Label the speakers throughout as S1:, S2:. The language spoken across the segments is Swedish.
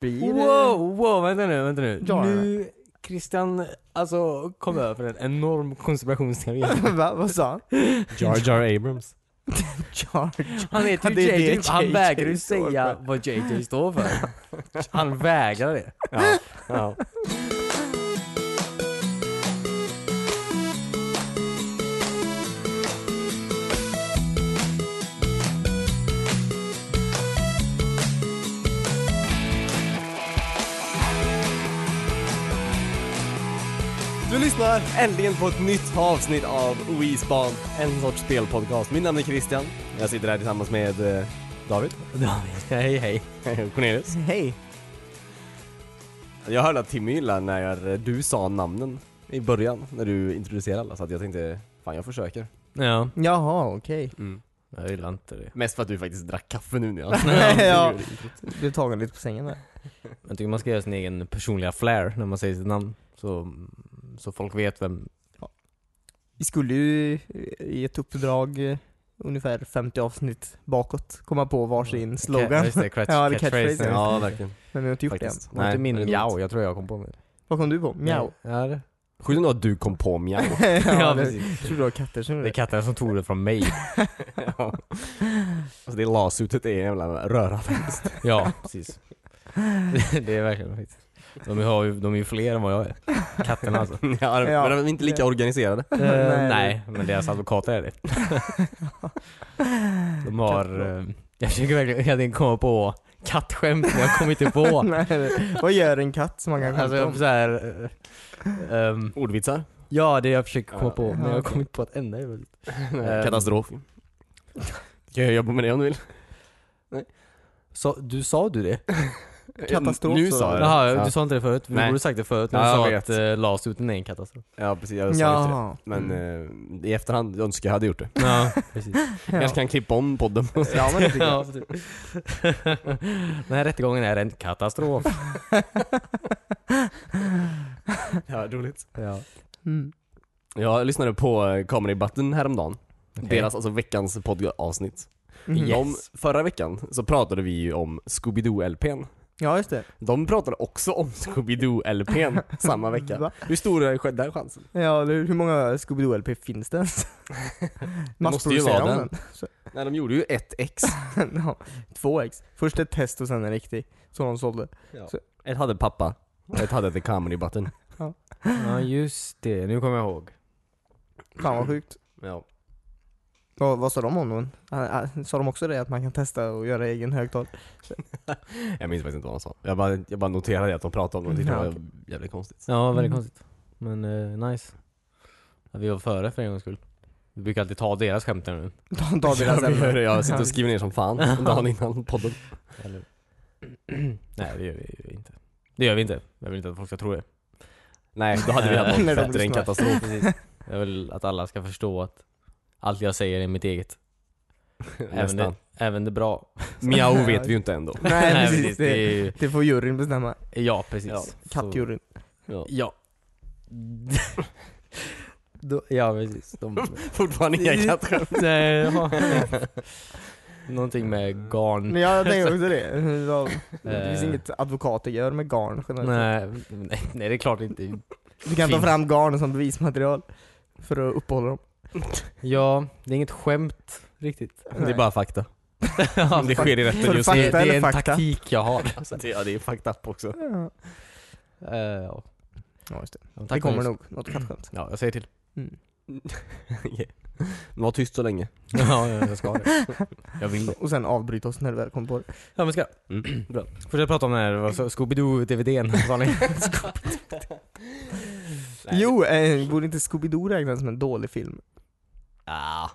S1: blir...
S2: Wow, wow, vänta nu, vänta nu.
S1: Ja.
S2: Nu, Christian, alltså kom över en enorm konspirationsteori.
S1: Va, vad sa han?
S3: Jar Jar Abrams.
S1: George.
S2: Han heter
S1: Det
S2: ju
S1: är det
S2: JJ, han
S1: JJ
S2: vägrar ju
S1: står
S2: säga
S1: för.
S2: vad JJ står för. Han vägrar det.
S3: Ja. ja. Du lyssnar äntligen på ett nytt avsnitt av Oisban, en sorts spelpodcast. Mitt namn är Christian. Jag sitter här tillsammans med eh, David
S2: Hej hej.
S3: och Cornelius.
S1: Hej.
S3: Jag hörde att Timmy gillade när du sa namnen i början, när du introducerade alla, så att jag tänkte fan jag försöker.
S2: Ja,
S1: Jaha, okej.
S2: jag gillar inte det.
S3: Mest för att du faktiskt drack kaffe nu när jag
S1: Ja. Blev tagen lite på sängen där.
S2: Jag tycker man ska göra sin egen personliga flair när man säger sitt namn. Så, så folk vet vem...
S1: Vi skulle ju eh, i ett uppdrag eh, ungefär 50 avsnitt bakåt komma på varsin
S2: Ja,
S1: slogan.
S2: just det, catch,
S1: Ja, det är
S2: catchphrasen.
S1: catchphrasen.
S2: Ja,
S3: Ja, verkligen.
S1: Men vi har inte gjort det
S3: Faktiskt.
S1: än.
S2: det var inte min
S3: det är sant.
S2: mjau, jag tror jag kom på mig.
S1: Vad kom du på? Mjau?
S2: Ja, det.
S3: Sjukt ändå att du kom på mjau.
S2: Ja,
S1: ja, det
S2: precis.
S1: tror du har katter som
S2: Det är
S1: det.
S2: katten som tog det från mig.
S3: ja. Alltså det lasutet är en jävla röra.
S2: Ja, precis. Det är verkligen skit. De, har ju, de är ju fler än vad jag är. Katterna alltså.
S3: ja,
S1: Ja.
S3: Men de är inte lika organiserade.
S2: Eh,
S1: Nej.
S2: nej, men deras advokater är det. De har... eh, Jag försöker verkligen jag tänkte komma på kattskämt, men jag kommer inte på.
S1: Nej, det- vad gör en katt som man kan
S2: Alltså
S1: skämta om?
S2: jag så här, eh, ehm,
S3: Ordvitsar.
S2: Ja, det jag försöker
S3: Ja.
S2: komma på, men
S1: Ja,
S2: jag har
S1: okej.
S2: kommit på ett enda jävla-
S3: Eh, Katastrof. Kan jag jobba med det om du vill?
S2: Så, du sa du det?
S1: Katastrof,
S3: Nu
S1: så-
S3: sa jag det.
S2: Jaha,
S3: ja.
S2: du sa inte det förut? Vi
S3: Nej.
S2: borde sagt det förut när
S3: Ja,
S2: du
S3: jag
S2: sa
S3: vet.
S2: att eh, LAS-uten är en katastrof.
S3: ja precis, jag sa inte det.
S1: Jaha.
S3: Men eh, i efterhand önskar jag hade gjort det.
S2: Ja, precis.
S1: Ja.
S3: Kanske kan klippa om podden.
S1: Ja men det tycker jag.
S2: ja, precis. Den här rättegången är en katastrof.
S3: ja, roligt.
S2: ja.
S1: Mm.
S3: Jag lyssnade på eh, Comedy Button häromdagen.
S2: Okej.
S3: Deras, alltså veckans poddavsnitt.
S1: Mhm.
S2: Ja.
S3: De, förra veckan så pratade vi ju om Scooby-Doo-LPn.
S1: Ja just det.
S3: De pratade också om Scooby-Doo-LPn samma vecka.
S1: Va?
S3: Hur stor är sk- den chansen?
S1: Ja, eller hur många Scooby-Doo LP finns det ens? Massproducerar
S3: vara
S1: de
S3: den. Nej, de gjorde ju ett ex.
S1: den? ja, två ex. Först ett test och sen en riktig. Som de sålde.
S3: Ett hade pappa, och ett hade The Comedy Button.
S2: ja, just det. Nu kommer jag ihåg.
S1: Fan vad sjukt.
S3: Ja.
S1: Vad, vad sa de om den? Ah, ah, Sa de också det att man kan testa och göra egen högtal?
S3: Jag minns faktiskt inte vad han sa. Jag bara, jag bara noterade att de pratade om det och tyckte det
S1: Ja,
S3: var
S1: okej.
S3: jävligt konstigt.
S2: Ja, väldigt
S1: Mm.
S2: konstigt. Men eh, nice. Ja, vi var före för en gångs skull. Vi brukar alltid ta deras skämt här nu.
S1: De tar deras
S3: Jag,
S1: ämnen.
S3: jag, jag sitter och skriver ner som fan dagen innan podden.
S2: Eller... Nej, det gör vi ju inte. Det gör vi inte. Jag vill inte att folk ska tro det.
S3: Nej, då hade vi haft
S1: När
S3: något
S1: de
S3: bättre än
S1: lyssnar.
S3: katastrof.
S2: Precis. Jag vill att alla ska förstå att allt jag säger är mitt eget. Även, det,
S3: Nästan.
S2: även det bra.
S3: Mjau vet vi ju inte ändå.
S1: Nej precis,
S2: Det,
S1: det,
S2: är ju-
S1: det får juryn bestämma.
S2: ja, precis.
S3: Ja,
S2: Så-
S1: Kattjuryn.
S2: Ja. Då, ja, precis. De,
S3: Fortfarande inga kattskämt.
S2: nej, ja. Någonting med garn.
S1: Men jag tänker också det. Ja, Det finns
S2: mm. Eh.
S1: inget advokater gör med garn generellt.
S2: Nej, nej, nej, det är klart inte.
S1: Du kan ta
S2: Finns.
S1: fram garn som bevismaterial. För att uppehålla dem.
S2: Ja, det är inget skämt riktigt.
S3: Det är bara fakta.
S2: Ja,
S3: Det sker i
S1: Så
S3: rätten
S1: det
S3: just
S1: fakta
S2: det,
S3: nu.
S2: det är
S1: eller
S2: en
S1: fakta?
S2: taktik jag har.
S3: Så det- Ja, det är fucked up också.
S1: Ja,
S2: Eh, ja.
S1: Ja, just det.
S2: Ja, tack
S1: Det kommer
S2: för-
S1: nog något kattskämt.
S2: Ja, jag säger till.
S1: Mm.
S3: Men var tyst så länge.
S2: Ja, jag jag ska det. Jag vill det.
S1: Och sen avbryta oss när du väl kommer på det.
S2: Ja men ska
S3: Mm. Bra.
S2: Fortsätt prata om den här vad sa- Scooby-Doo-DVDn sa ni?
S3: Nej.
S1: Jo, eh, borde inte Scooby-Doo räknas som en dålig film?
S3: Ah.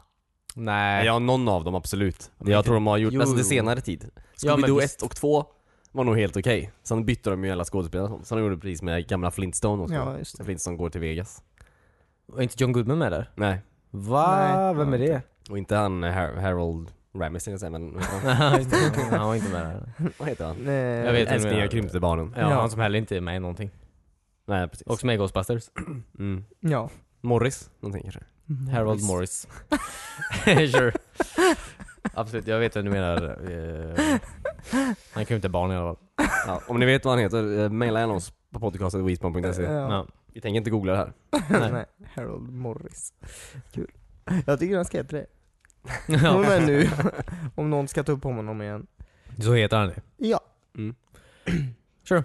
S2: Nej.
S3: Ja, någon av dem absolut.
S2: Men
S3: Jag
S2: vilken-
S3: tror de har gjort,
S2: Jo,
S3: alltså det
S2: jo.
S3: senare tid.
S2: Ja, men
S3: Scooby-Doo
S2: visst.
S3: 1 och 2 var nog helt okej. Sen bytte de ju alla skådespelare och sånt. Sen gjorde de precis med gamla Flintstone också.
S1: Ja, just det.
S3: Flintstone går till Vegas.
S2: Var inte John Goodman med där?
S3: Nej.
S2: Va?
S1: Nej.
S2: Vem är det?
S3: Och inte han eh, Har- Harold Ramis tänkte jag säga, men ja,
S2: Ja, just det. han var inte med där.
S3: vad heter han?
S1: Nej.
S2: Jag vet inte.
S3: Älskling jag krympte barnen.
S2: Ja,
S1: Ja.
S2: Han som heller inte är med i någonting.
S3: Nej precis.
S2: Också med i Ghostbusters.
S3: Mm.
S1: eh, Ja.
S3: Morris, någonting kanske.
S2: Harold Morris. sure. Absolut, jag vet vad du menar. Eh, han kan ju inte barn i alla fall.
S3: Ja, om ni vet vad han heter, eh, maila gärna oss på podcastetweespan.se.
S1: Ja.
S2: Ja.
S3: Vi tänker inte googla det här.
S1: Nej. Harold Morris. Kul. Jag tycker han ska heta det. Från och
S2: Ja.
S1: med nu, om någon ska ta upp honom igen.
S2: Så heter han det.
S1: Ja.
S2: Sure.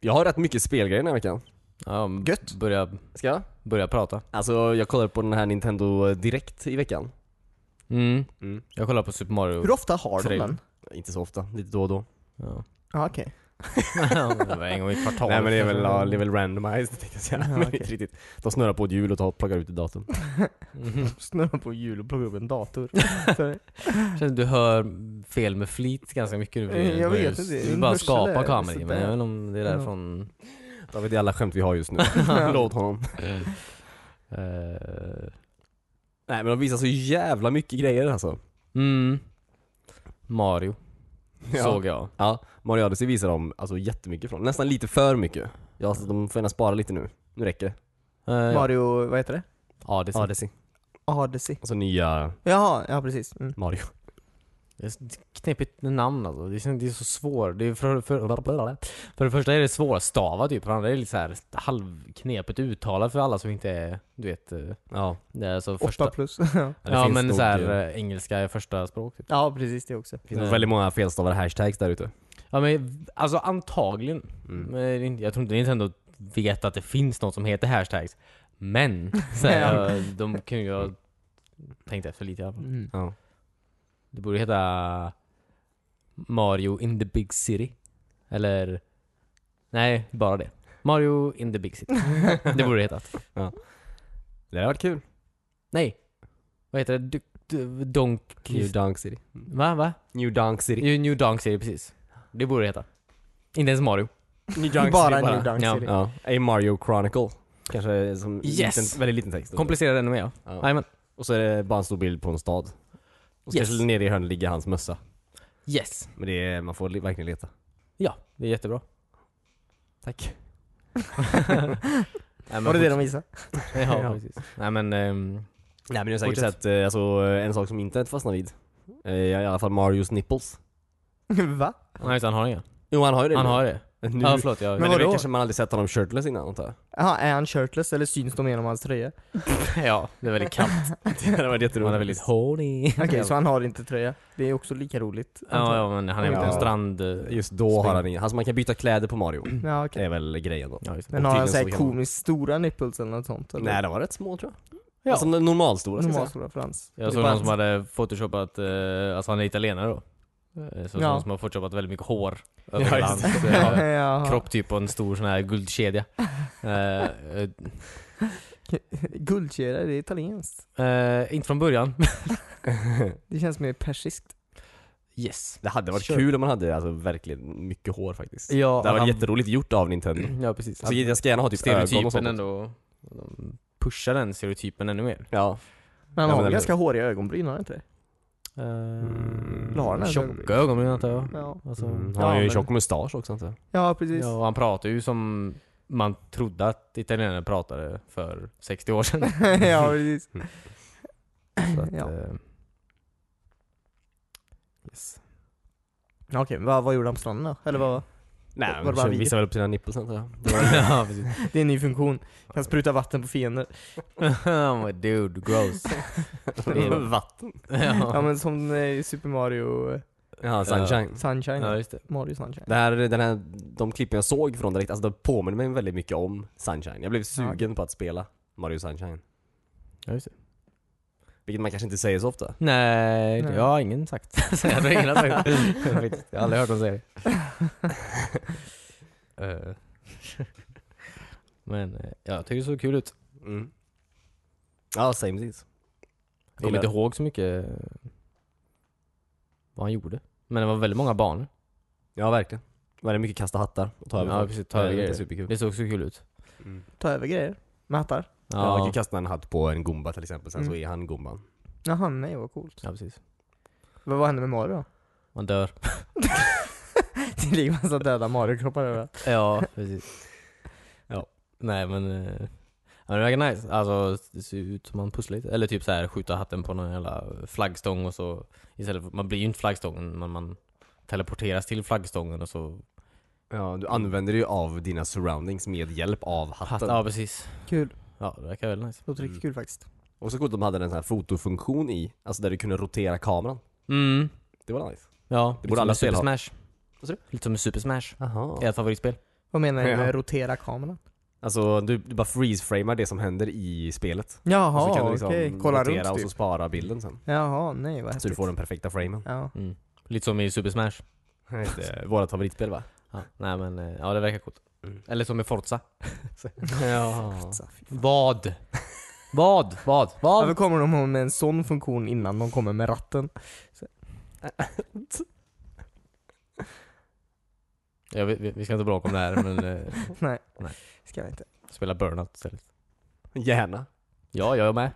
S3: Jag har rätt mycket spelgrejer den här veckan.
S2: Ja, m-
S1: Gött.
S2: Börja,
S3: Ska jag?
S2: börja prata.
S3: Alltså jag kollade på den här Nintendo eh, Direkt i veckan.
S2: Mm.
S3: Mm.
S2: Jag kollar på Super Mario.
S1: Hur ofta har de
S2: Trevligt.
S1: den?
S3: Inte så ofta, lite då och då.
S2: Ja.
S1: Ja, okej.
S2: det var en gång i kvartalet.
S3: Nej men det är väl, ja, det är
S2: kanske.
S3: väl randomized tänkte jag säga.
S1: Ja,
S3: Men det är
S1: okej.
S3: inte riktigt. De snurrar på ett hjul och tar, plockar ut ett datum.
S2: Mhm.
S1: Snurra på hjul och plocka upp en dator. Så-
S2: Känns som du hör fel med flit ganska mycket nu för
S1: Eh,
S2: tiden.
S1: jag
S2: Du
S1: vet inte,
S2: börjar ju-
S1: min
S2: Du bara
S1: hörsel är
S2: skapar kameran i, men
S1: sådär.
S2: jag vet inte om det är
S1: Ja.
S2: därifrån...
S3: David, det är alla skämt vi har just nu. Låt honom.
S2: Eh,
S3: Nej men de visar så jävla mycket grejer alltså.
S2: mm. Mario,
S3: Ja.
S2: såg jag.
S3: Ja, Mario Odyssey visar de alltså jättemycket från. Nästan lite för mycket. Ja, så de får gärna spara lite nu. Nu räcker det.
S2: Eh, ja.
S1: Mario, vad heter det?
S2: Odyssey.
S3: Odyssey.
S1: Odyssey.
S3: Alltså nya
S1: Jaha, ja precis. Mm.
S3: Mario.
S2: Det är ett knepigt namn alltså. Det känns- det är så svårt. Det är för, för, för det första är det svårstavat typ. För det andra är det lite så här halvknepigt uttalat för alla som inte är, du vet. eh,
S3: Ja.
S2: Det är alltså
S1: Åtta
S2: första...
S1: plus.
S3: det
S2: ja
S3: finns
S2: men
S3: nog,
S2: så här,
S3: eh,
S2: eh, engelska är första språk typ.
S1: ja, precis det också.
S3: Det finns
S2: Nej.
S3: väldigt många felstavade hashtags där ute.
S2: Ja men alltså antagligen.
S3: Mm.
S2: Men det är inte- Jag tror inte Nintendo vet att det finns något som heter hashtags. Men, så här, eh, de kan ju ha tänkt efter lite i alla fall.
S1: Mm.
S3: Ja.
S2: Det borde heta Mario in the big city. Eller... Nej, bara det. Mario in the big city. det borde det heta.
S3: Det hade varit kul.
S2: Nej. Vad heter det? Du, du, donk...
S3: New Donk City.
S2: Va? Va?
S3: New Donk City.
S2: New, New Donk City, precis. Det borde det heta. Inte ens Mario.
S3: New
S1: Bara New Dunk
S2: Ja.
S1: City.
S3: Ja. A Mario Chronicle. Kanske som
S2: Yes!
S3: liten, väldigt liten text.
S2: Komplicerat ännu mer.
S3: ja.
S2: Jajamän.
S3: Och så är det bara en stor bild på en stad. Och så
S2: Yes.
S3: kanske nere i hörnet ligger hans mössa.
S2: Yes.
S3: Men det är, man får li- verkligen leta.
S2: Ja, det är jättebra.
S3: Tack.
S2: Nej, men
S1: Var det det de visade?
S2: Ja,
S3: Ja.
S2: precis. Nej men... ehm,
S3: Nej men det är säkert
S2: Fortsätt.
S3: sett, eh, alltså, en sak som internet fastnar vid. Eh, I alla fall Marios nipples.
S1: Va?
S2: nej, utan han har inga.
S3: Jo han har ju det
S2: Han
S3: nu.
S2: har det.
S3: Nu.
S2: Ja, förlåt.
S3: men
S2: Jag...
S3: det är väl
S1: vadå?
S3: kanske man aldrig sett honom shirtless innan antar jag.
S1: Jaha, är han shirtless eller syns de genom hans tröja?
S2: ja, det är väldigt kallt.
S3: Det hade varit jätteroligt.
S2: Han är väldigt horny.
S1: Okej, så han har inte tröja. Det är också lika roligt.
S2: Ja, ja men han är väl på en
S3: Ja.
S2: strand... eh,
S3: Just då har han ingen, alltså man kan byta kläder på Mario.
S1: ja okej.
S3: Det är väl grejen då.
S2: Ja, just det.
S1: Men
S3: Eh, Och
S1: har han
S3: tydligen så
S1: såhär
S3: kan man-
S1: komiskt stora nipples eller något sånt? Eller?
S3: Nej de var rätt små tror jag.
S1: Ja.
S3: Alltså normalstora ska jag
S1: Normalt
S3: säga.
S1: stora frans.
S2: Jag
S1: Det
S2: såg
S1: bara-
S2: någon som hade photoshopat, eh, alltså han är italienare då. Eh, Så
S1: Ja.
S2: någon som har photoshopat väldigt mycket hår över
S3: Ja,
S2: hela
S3: just
S2: hans eh,
S1: Jaha.
S2: kropp typ och en stor sån här guldkedja. Eh, eh,
S1: Guldkedja, det är italienskt.
S2: eh, inte från början.
S1: Det känns mer persiskt.
S2: Yes.
S3: Det hade varit
S2: Sure.
S3: kul om man hade alltså, verkligen mycket hår faktiskt.
S2: Ja,
S3: det hade varit
S2: han-
S3: jätteroligt gjort av Nintendo.
S1: Mm.
S2: Ja precis.
S3: Så jag ska gärna ha typ ögon och
S2: Mm. Alltså, stereotypen
S3: sånt.
S2: ändå. De pushar den stereotypen ännu mer.
S3: Ja.
S1: Men han
S3: Ja,
S1: har
S3: men
S1: väl
S3: eller-
S1: ganska håriga ögonbryn, har han inte det?
S2: Mm.
S1: Har han ens
S2: Tjocka ögonbryn antar jag.
S1: Ja,
S2: Alltså,
S3: Mm. Han
S1: Ja,
S3: har ju en
S1: men-
S3: tjock mustasch också antar jag.
S1: ja precis.
S2: Ja, och han pratar ju som man trodde att italienare pratade för 60 år sedan.
S1: ja, precis.
S2: Så att,
S1: Ja.
S2: eh, yes.
S1: Ja, Okej, vad, vad gjorde han på stranden då? Eller vad?
S3: Nej,
S1: Var det
S3: men
S1: bara
S3: han
S1: vi?
S3: visar väl upp sina nipples antar jag.
S2: ja, precis.
S1: Det är en ny funktion. Kan spruta vatten på fiender.
S2: I'm a dude, gross.
S3: Vatten.
S1: Ja
S2: ja.
S1: men som eh, Super Mario eh,
S3: Ja, sunshine.
S1: Sunshine.
S2: ja, just det.
S1: Mario Sunshine.
S3: Det här, den här, de klippen jag såg från direkt, alltså det påminner mig väldigt mycket om Sunshine. Jag blev
S1: Ja,
S3: sugen på att spela Mario Sunshine.
S2: Ja, just det.
S3: Vilket man kanske inte säger så ofta.
S2: Nej,
S1: Nej.
S2: det har ingen sagt. Så jag tror ingen har sagt det. Jag har aldrig hört dem säga det. Eh, Men eh, ja, jag tycker det såg kul ut.
S3: Mm. Ja, same things.
S2: Jag kommer inte ihåg så mycket eh, vad han gjorde. Men det var väldigt många barn.
S3: Ja, verkligen. Men det är mycket kasta hattar och ta över
S2: Ja,
S3: folk.
S2: precis, ta över
S3: det är
S2: grejer.
S3: inte superkul.
S2: Det såg så kul ut.
S3: Mm.
S1: Ta över grejer. Mätar.
S3: Ja. man kan kasta en hatt på en gumba till exempel, sen så
S1: Mm.
S3: är han gumban.
S1: Jaha, nej vad coolt.
S2: ja precis.
S1: Vad, vad hände med Mario då?
S2: Man dör.
S1: Det ligger massa döda Mario-kroppar överallt.
S2: Ja, precis. ja. Nej men... eh, Ja, men det verkar nice. Alltså det ser ut som man pusslar lite. Eller typ så här skjuta hatten på någon jävla flaggstång och så... Istället för, man blir ju inte flaggstången men man teleporteras till flaggstången och så...
S3: Ja, du använder ju av dina surroundings med hjälp av hatten.
S2: Ja, precis.
S1: Kul.
S2: Ja, det verkar väldigt nice.
S1: Låter
S3: Mm.
S1: riktigt kul faktiskt.
S3: Och så coolt de hade den här fotofunktion i, alltså där du kunde rotera kameran.
S2: Mm.
S3: Det var nice.
S2: Ja,
S3: borde alla
S2: i
S3: spel
S2: Super
S3: ha.
S2: Smash.
S3: Vad sa du?
S2: Lite som i Super Smash.
S3: Aha.
S2: Ert favoritspel.
S1: Vad menar du
S3: Ja.
S1: med rotera kameran?
S3: Alltså du, du bara freeze-framar det som händer i spelet. och så kan
S1: Jaha,
S3: du
S1: liksom
S3: liksom
S1: okej. Kolla
S3: rotera
S1: runt
S3: och
S1: typ.
S3: så spara bilden sen.
S1: Jaha, nej vad
S3: Så du
S1: häftigt.
S3: får den perfekta framen.
S1: Ja.
S2: Mm. Lite som i Super Smash.
S3: Det är vårat favoritspel va?
S2: Ja. Nej men, eh, ja det verkar coolt.
S3: Mm.
S2: Eller som i Forza. ja.
S3: Så, fy fan.
S2: Vad? Vad? Vad? Vad?
S1: Varför kommer de med en sån funktion innan de kommer med ratten?
S2: Ja, vi, vi- vi ska inte bråka om det här men eh,
S1: Ska jag inte.
S2: spela Burnout istället.
S3: Gärna.
S2: Ja, jag är med.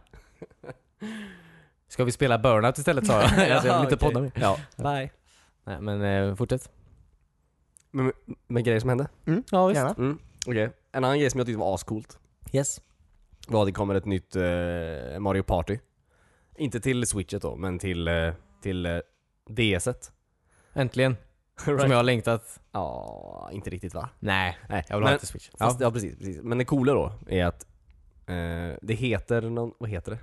S2: Ska vi spela Burnout istället sa jag. alltså, jag vill inte
S3: okej.
S2: podda mer.
S3: Ja. Bye.
S2: Nej men eh, fortsätt.
S3: Men, men grejer som hände?
S2: Ja
S1: Gärna.
S3: Mm. Okej. En annan grej som jag tyckte var ascoolt
S2: Yes.
S3: var att det kommer ett nytt eh, Mario Party. Inte till switchet då, men till, eh, till eh, DS-et.
S2: Äntligen. Som jag har längtat.
S3: Ja, inte riktigt va?
S2: Nej,
S3: Nej,
S2: jag vill
S3: men,
S2: ha lite Switch.
S3: Fast, ja, precis, precis. Men det coola då är att eh, det heter någon, vad heter det?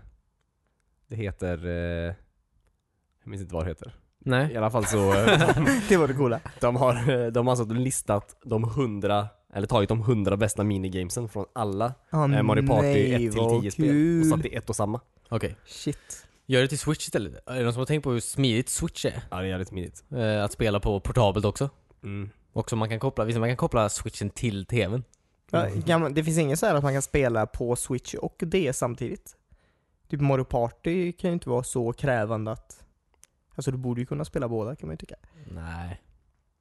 S3: Det heter, eh, jag minns inte vad det heter. I
S2: Nej.
S3: alla fall så, eh, de,
S1: Det var det coola.
S3: de har, eh, de har alltså listat de hundra, eller tagit de hundra bästa minigamesen från alla
S1: Ah,
S2: Mm,
S3: eh, Mario Party 1
S1: nej,
S3: till
S1: vad
S3: 10 spel och satt i ett och samma.
S2: Okej.
S1: Shit.
S2: Gör det till Switch istället. Är det någon som har tänkt på hur smidigt Switch är?
S3: Ja, det är jävligt smidigt.
S2: Eh, att spela på portabelt också.
S3: Mm.
S2: Och som man kan koppla, visst man kan koppla switchen till tvn?
S1: Ja,
S3: Mm.
S1: kan man, det finns inget så här att man kan spela på Switch och DS samtidigt? Typ Mario Party kan ju inte vara så krävande att... Alltså du borde ju kunna spela båda kan man ju tycka.
S2: Nej.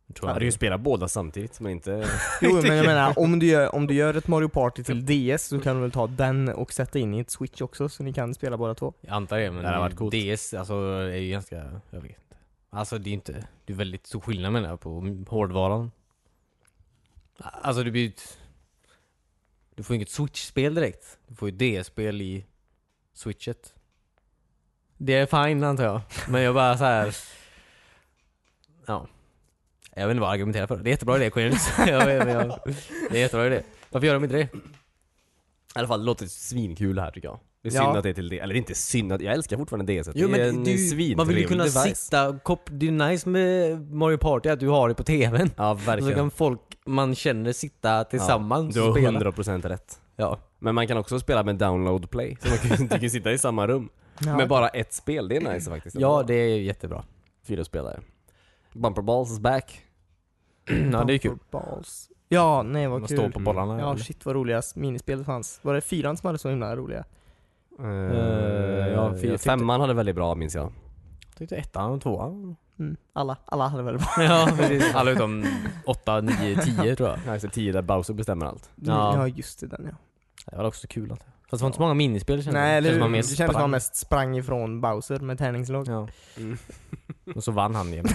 S2: Jag
S3: Jag
S2: tror
S3: hade
S2: jag
S3: ju
S2: inte.
S3: spelat båda samtidigt, men inte...
S1: Jo men jag menar, om du, gör, om du gör ett Mario Party till DS så kan du väl ta den och sätta in i ett Switch också så ni kan spela båda två?
S2: Jag antar det, men
S3: Det hade varit coolt.
S2: DS alltså, är ju ganska, jag vet inte. Alltså det är inte, det är väldigt stor skillnad menar jag på hårdvaran. Alltså det blir ju ett, Du får ju inget switch-spel direkt. Du får ju DS-spel i switchet. Det är fine antar jag, men jag bara så här. Ja. Jag vet inte vad jag argumenterar för. Det är jättebra idé, Cornelius. jag, jag, jag, det är jättebra idé. Varför gör de inte det?
S3: I alla fall, det låter svinkul det här tycker jag. Det är
S1: Ja.
S3: synd att det är till det, eller det är inte synd att, jag älskar fortfarande DS.
S2: Jo
S3: det är
S2: men
S3: en
S2: du,
S3: svintrevlig
S2: man vill ju kunna
S3: device.
S2: sitta och kop- Det är nice med Mario Party att du har det på tvn.
S3: Ja,
S2: Så
S3: verkligen.
S2: alltså, kan folk man känner sitta tillsammans
S3: Du
S2: och
S3: har
S2: spela.
S3: 100% rätt.
S2: Ja.
S3: Men man kan också spela med download play, så man kan, du kan sitta i samma rum.
S1: Ja.
S3: Med bara ett spel, det är nice faktiskt.
S2: ja, det är jättebra.
S3: Fyra spelare. Bumper balls is back.
S2: ja, det är kul.
S1: Balls. Ja, nej vad
S2: Man
S1: kul. Mm.
S2: står på bollarna.
S1: Ja
S2: eller?
S1: shit vad roliga minispel det fanns. Var det fyran som hade så himla roliga? Eh,
S3: Eh,
S2: ja, fyra-
S3: femman hade väldigt bra minns jag.
S2: Tyckte ettan och tvåan.
S1: Mm. Alla, alla hade väl bara...
S2: ja, precis. Alla utom åtta, nio, tio tror jag.
S3: Nice, tio där Bowser bestämmer allt.
S2: Ja.
S1: Ja. ja just det, den ja.
S2: Det var också kul. antar jag. Fast det var inte så många minispel kändes
S1: Nej eller
S2: kändes
S1: hur?
S2: man mer
S1: Det kändes som att man
S2: sprang.
S1: mest sprang ifrån Bowser med tärningslag.
S2: Ja.
S3: Mm.
S2: Och så vann han jämt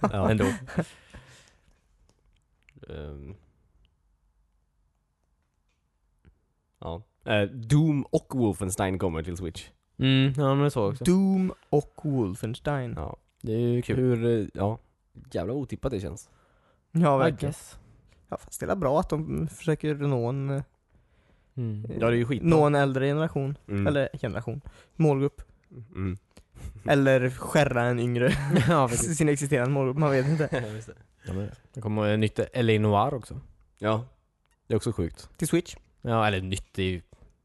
S3: Ja.
S2: ändå.
S3: Ehm. ja. Eh, Doom och Wolfenstein kommer till Switch.
S2: Mm, ja men så också.
S1: Doom och Wolfenstein.
S3: Ja.
S2: Det är ju kul.
S3: Hur, eh, ja. Jävla otippat det känns.
S1: Ja
S2: I
S1: verkligen.
S2: guess.
S1: Ja, fast det är bra att de försöker nå en, eh,
S2: Mm.
S3: Ja, det är ju skitbra.
S1: nå en äldre generation.
S3: Mm.
S1: Eller generation. Målgrupp.
S3: Mm.
S1: Eller skärra en yngre.
S2: ja, precis.
S1: sin existerande målgrupp, man vet inte.
S2: Ja, men det kommer ett nytt LA Noir också.
S3: Ja. Det är också sjukt.
S1: Till Switch.
S2: Ja, eller nytt är ju...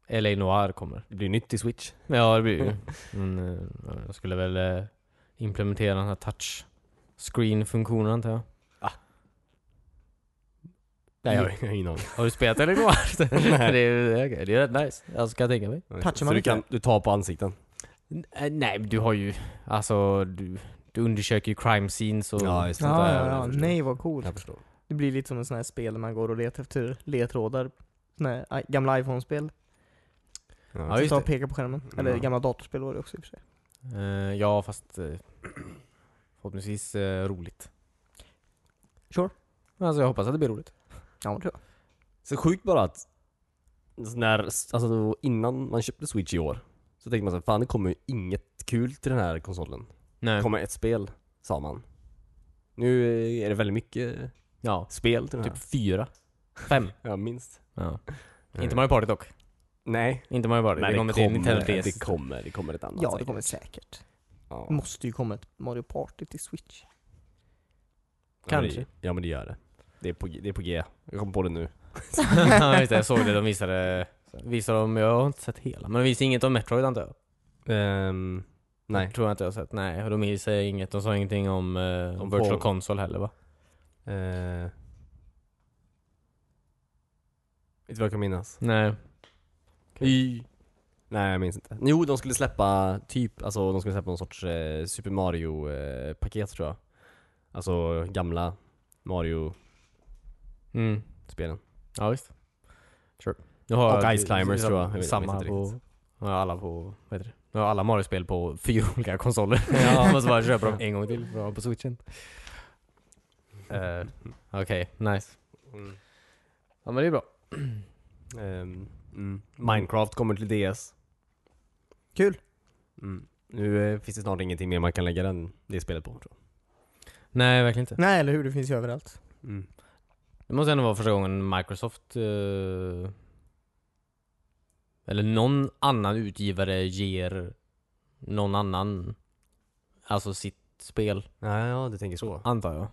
S2: LA Noir kommer.
S3: Det blir nytt till Switch.
S2: Ja, det blir ju. Men eh, jag skulle väl eh, implementera den här touch screen-funktionen antar jag.
S3: Nej, jag har ingen aning.
S2: Har du spelat LA Noir?
S3: Nej.
S2: det, är, okej, det är rätt nice. Alltså, kan jag tänka mig.
S1: Touchar
S3: Så
S1: man
S3: du,
S1: inte?
S3: kan, du tar på ansikten?
S2: N- eh, Nej, men du har ju... Alltså, du, du undersöker ju crime scenes och...
S3: just
S1: Ja, ja, ja. Nej vad coolt.
S3: Jag förstår.
S1: Det blir lite som en sån här spel där man går och letar efter ledtrådar. Såna här i- gamla iPhone-spel.
S2: Ja,
S3: Ja,
S2: just
S1: Sitta och
S2: det.
S1: peka på skärmen. Eller
S3: Ja.
S1: gamla datorspel var det också i och för sig.
S2: Eh, ja, fast... eh, Förhoppningsvis eh, roligt.
S1: Sure.
S2: Alltså jag hoppas att det blir roligt.
S1: Ja, det tror jag.
S3: Så sjukt bara att när, alltså innan man köpte Switch i år så tänkte man så här, fan det kommer ju inget kul till den här konsolen. Det
S2: Nej.
S3: kommer ett spel, sa man. Nu eh, är det väldigt mycket
S2: Ja,
S3: spel till den
S2: typ
S3: här.
S2: fyra. Fem.
S3: Ja, minst.
S2: Ja.
S3: Mm.
S2: Inte Mario Party dock.
S3: Nej.
S2: Inte Mario Party.
S3: Men
S2: det kommer till Nintendo E DS.
S3: det kommer, det kommer ett annat
S1: Ja, det
S3: säkert.
S1: kommer säkert.
S3: Ja.
S1: Måste ju komma ett Mario Party till Switch.
S2: Kanske.
S3: Ja, det- Ja men det gör det. Det är på, det är på G. Jag kom på det nu.
S2: ja, just det, jag såg det. De visade... Visade de... Jag har inte sett hela. Men de visade inget om Metroid antar jag.
S3: Ehm, nej.
S2: Tror jag inte jag har sett. Nej, och de visade inget. De sa ingenting om, eh,
S3: Om
S2: om Virtual
S3: Fall.
S2: Console heller va?
S3: Uh, inte vad jag kan minnas.
S2: Nej.
S3: Y. Nej jag minns inte. Jo de skulle släppa typ, alltså de skulle släppa någon sorts eh, Super Mario-paket tror jag. Alltså gamla Mario-spelen.
S2: Mm. Ja visst. Sure. Nu har
S3: Och
S2: jag-
S3: Ice Climbers, tror jag. Jag vet- jag minns
S2: samma
S3: inte
S2: på... Nu har jag alla på... Vad heter det? Nu har jag alla Mario-spel på fyra olika konsoler.
S3: Ja.
S2: jag måste bara köpa dem en gång till för att ha på switchen. Eh,
S3: Mm.
S2: Okej, nice. Ja men det är bra.
S3: Ehm, mm. Minecraft kommer till DS.
S1: Kul!
S3: Mm. Nu eh, finns det snart ingenting mer man kan lägga den, det spelet på tror
S2: Nej, verkligen inte.
S1: Nej, eller hur? Det finns ju överallt.
S3: jag. Mm.
S2: Det måste ändå vara första gången Microsoft eh, eller någon annan utgivare ger någon annan alltså sitt spel,
S3: Ja, ja, du tänker så.
S2: antar jag.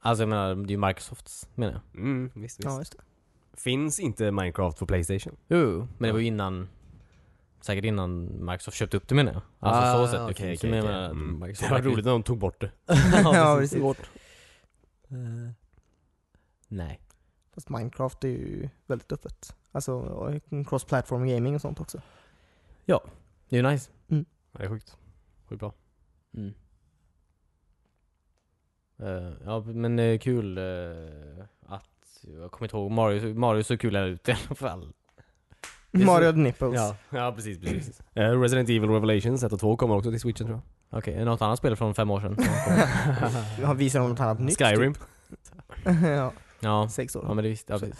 S2: Alltså jag menar, det är ju Microsofts menar jag.
S3: Mm, visst, visst.
S1: Ja, just det.
S3: Finns inte Minecraft på Playstation?
S2: Jo, jo, men det var ju innan Säkert innan Microsoft köpte upp det menar jag. Alltså så
S3: Ah,
S2: sett. det finns ju, men jag menar,
S3: Mm. Det
S2: Microsoft
S3: var
S2: verkligen-
S3: roligt när de tog bort det.
S1: ja,
S2: precis.
S1: precis.
S2: Eh, nej.
S1: Fast Minecraft är ju väldigt öppet. Alltså cross-platform gaming och sånt också.
S2: Det är ju nice.
S3: Ja, det är sjukt. Sjukt bra.
S2: Mm. Eh, ja, men det är kul eh, att... Jag kommer inte ihåg. Mario, Mario såg kul ut i alla fall. Det är så-
S1: Mario the Nipples.
S3: ja precis, precis. Eh, Resident Evil Revelations 1 och 2 kommer också till switchen tror
S2: Okej, okay, något annat spel från fem år sedan?
S1: Han visar något annat nytt.
S3: jag. Skyrim.
S1: ja,
S2: ja.
S1: sex år.
S2: ja, men det visste jag.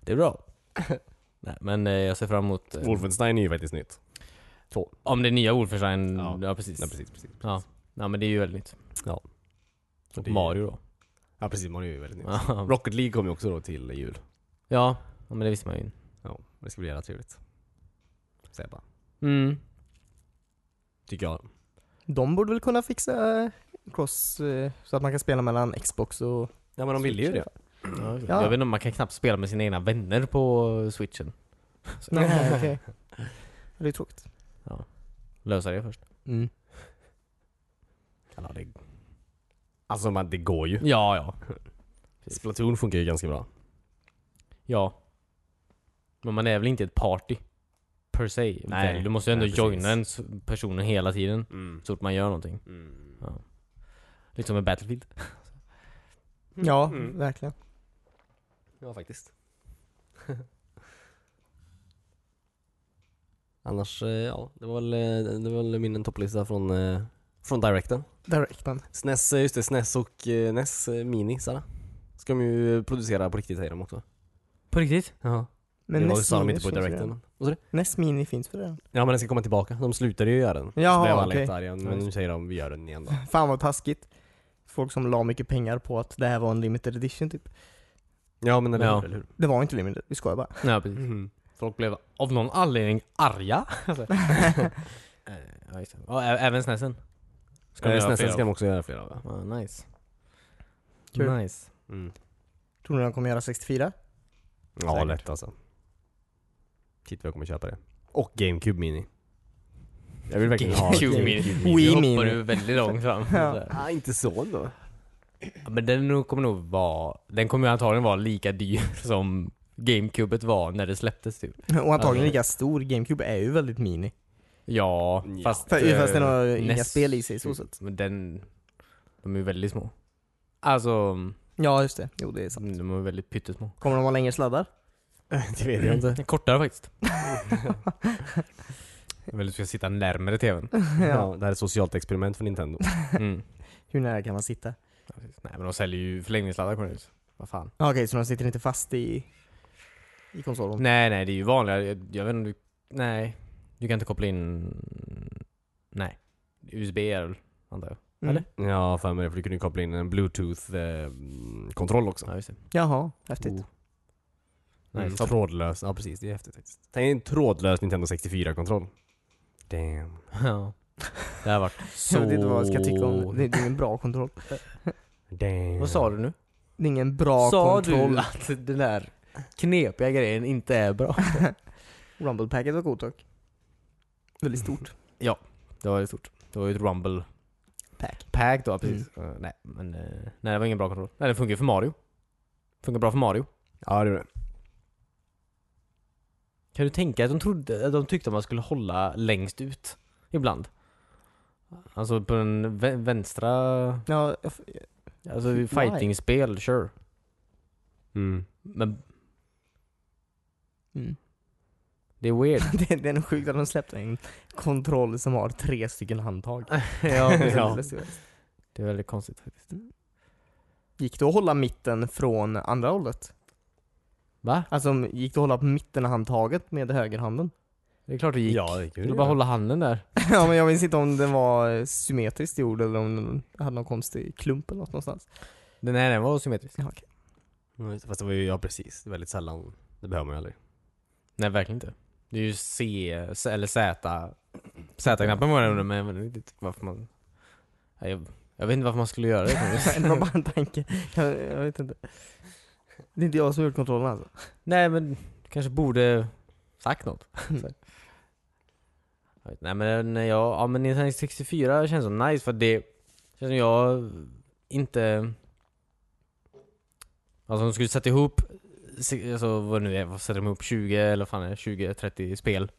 S2: Det är bra. Nej, men eh, jag ser fram emot... eh,
S3: Wolfenstein är ju faktiskt nytt.
S2: om det är nya Wolfenstein...
S3: Ja.
S2: Ja, precis.
S3: Ja, precis, precis.
S2: Ja. ja, men det är ju väldigt nytt.
S3: Ja. Så
S2: Och
S3: det är-
S2: Mario då.
S3: Ja precis, Mario är ju väldigt nytt.
S2: Ja.
S3: Rocket League kommer ju också då till jul.
S2: ja, men det visste man ju.
S3: Ja, det ska bli jävla trevligt. Säger jag bara.
S2: Mm.
S3: Tycker jag.
S1: De borde väl kunna fixa eh, cross eh, så att man kan spela mellan Xbox och...
S3: Ja men de ville ju det.
S2: Ja. Jag vet inte, om man kan knappt spela med sina egna vänner på switchen. Så
S1: Nej, okej. Det är tråkigt.
S2: lösa det först.
S1: Mm.
S3: Ja, det... Alltså man, det går ju.
S2: Ja, ja.
S3: Splatoon funkar ju ganska bra.
S2: Ja. Men man är väl inte ett party? Per se.
S3: Nej.
S2: Nej. Du måste ju ändå
S3: Nej, precis.
S2: joina den s- personen hela tiden.
S3: Mm.
S2: Så fort man gör någonting. Ja. Lite som i Battlefield.
S1: Ja,
S3: Mm.
S1: verkligen.
S3: Ja, faktiskt. Annars, eh, ja, det var väl, eh, det var väl min topplista från, eh, från Directen.
S1: Directman.
S3: SNES, eh, just det, SNES och eh, NES eh, Mini, Sara. Ska de ju producera på riktigt säger de också.
S2: På riktigt?
S3: Ja.
S1: Men
S3: det var,
S1: NES
S3: sa de
S1: Mini
S3: inte på
S1: finns ju
S3: Directen.
S1: redan.
S3: Vad sa du?
S1: NES Mini finns väl redan?
S3: Ja men den ska komma tillbaka, de slutade ju göra den. så
S1: Jaha,
S3: blev alla
S1: okej.
S3: jättearga, men nu säger de vi gör den igen då.
S1: Fan vad taskigt. Folk som la mycket pengar på att det här var en limited edition typ.
S3: Ja Mm. men eller
S2: Ja.
S3: hur, eller hur?
S1: Det var inte limited, vi skojar bara.
S2: Nej, precis. Folk blev av någon anledning arga. Alltså. Eh, ja, just det. Och ä- även snäsen.
S3: Ska
S2: de
S3: eh,
S2: göra
S3: SNES
S2: fler
S3: ska
S2: av?
S3: de också göra flera av ja.
S2: Ja, nice.
S1: Kul.
S2: Nice.
S3: Mm.
S1: Tror ni de kommer göra 64?
S3: Ja,
S2: Säkert.
S3: lätt alltså. Shit vad jag kommer köpa det. Och GameCube Mini. Jag vill verkligen ha
S1: GameCube
S2: Mini.
S1: Wii
S2: Nu hoppar
S1: Mini.
S2: du väldigt långt fram.
S1: Ja.
S3: Ah, inte så ändå.
S2: Ja, Men den nog- kommer nog vara, den kommer ju antagligen vara lika dyr som GameCubet var när det släpptes typ.
S1: Och antagligen
S2: Ja.
S1: lika stor. GameCube är ju väldigt mini.
S2: Ja,
S3: Ja.
S2: fast...
S1: För,
S2: eh,
S1: fast den har inga
S2: näst-
S1: spel i sig så sett.
S2: Men den... De är ju väldigt små. Alltså,
S1: Ja just det, jo det är sant.
S2: de är väldigt pyttesmå. Mm.
S1: Kommer de ha längre sladdar?
S3: det vet jag inte.
S2: Kortare faktiskt. Väl du ska sitta närmare tvn.
S3: Ja, det här är ett socialt experiment för Nintendo.
S2: Mm.
S1: Hur nära kan man sitta?
S2: Ja, precis. Nej men de säljer ju förlängningssladdar kommer det ut. Vad fan.
S1: Ja, Okej, så de sitter inte fast i, i konsolen?
S2: Nej nej, det är ju vanliga. Jag, jag vet inte om du... Nej. Du kan inte koppla in... Nej. USB är väl, antar jag.
S1: Mm.
S2: Eller?
S3: Jag har för mig det, för du kunde ju koppla in en bluetooth-kontroll också.
S2: Ja, just det.
S1: Jaha, häftigt.
S3: Oh. Nej,
S2: Mm.
S3: trådlös. Ja precis, det är häftigt faktiskt. Tänk en trådlös Nintendo 64-kontroll. Damn.
S2: Ja. Det har varit så...
S1: Jag vet inte vad jag ska tycka om det. Det är ingen bra kontroll.
S3: Damn.
S2: Vad sa du nu?
S1: Det är ingen bra
S2: sa
S1: kontroll.
S2: du att den där knepiga grejen inte är bra?
S1: Rumble packet var god dock. Väldigt stort.
S2: Det var ju stort. Det var ju ett rumble
S1: Pack.
S2: pack då, precis. Eh, nej, men eh, nej, det var ingen bra kontroll. Nej, det funkar ju för Mario. Funkar bra för Mario.
S3: Ja det gjorde
S2: Kan du tänka att de, trodde, att de tyckte att man skulle hålla längst ut? Ibland. Alltså på den vä- vänstra...
S1: Ja, jag f-
S2: Alltså
S1: Why?
S2: fighting-spel, sure.
S3: mm.
S2: Men
S1: mm.
S2: det är weird.
S1: det, det är nog sjukt att de släppte en kontroll som har tre stycken handtag.
S2: ja,
S1: ja.
S2: ja. Det är väldigt konstigt faktiskt.
S1: Gick det att hålla mitten från andra hållet?
S2: Va?
S1: Alltså om- gick det att hålla på mitten av handtaget med högerhanden?
S2: Det är klart det gick.
S3: Ja, det gick ju.
S2: du bara hålla handen där.
S1: ja men jag minns inte om den var symmetriskt gjord eller om den hade någon konstig klump eller något någonstans.
S2: Den här den var symmetrisk.
S1: Ja, okej.
S3: Ja, just det. Mm, Fast det var ju, ja precis. Det är väldigt sällan. Det behöver man ju aldrig.
S2: Nej, verkligen inte. Det är ju C, S- eller Z. Z-knappen var det under, men jag vet inte riktigt varför man... Nej, Jag, jag vet inte varför man skulle göra det.
S1: det var bara en tanke. Jag, jag vet inte. Det är inte jag som har gjort kontrollen alltså.
S2: Nej men, kanske borde sagt något. Så. Jag vet- Nej men, när jag, ja men Nintendo 64 känns som nice för det känns som jag inte... Alltså de skulle sätta ihop, se- alltså vad det nu är, vad sätter de ihop 20 eller vad fan är det, 20-30 spel.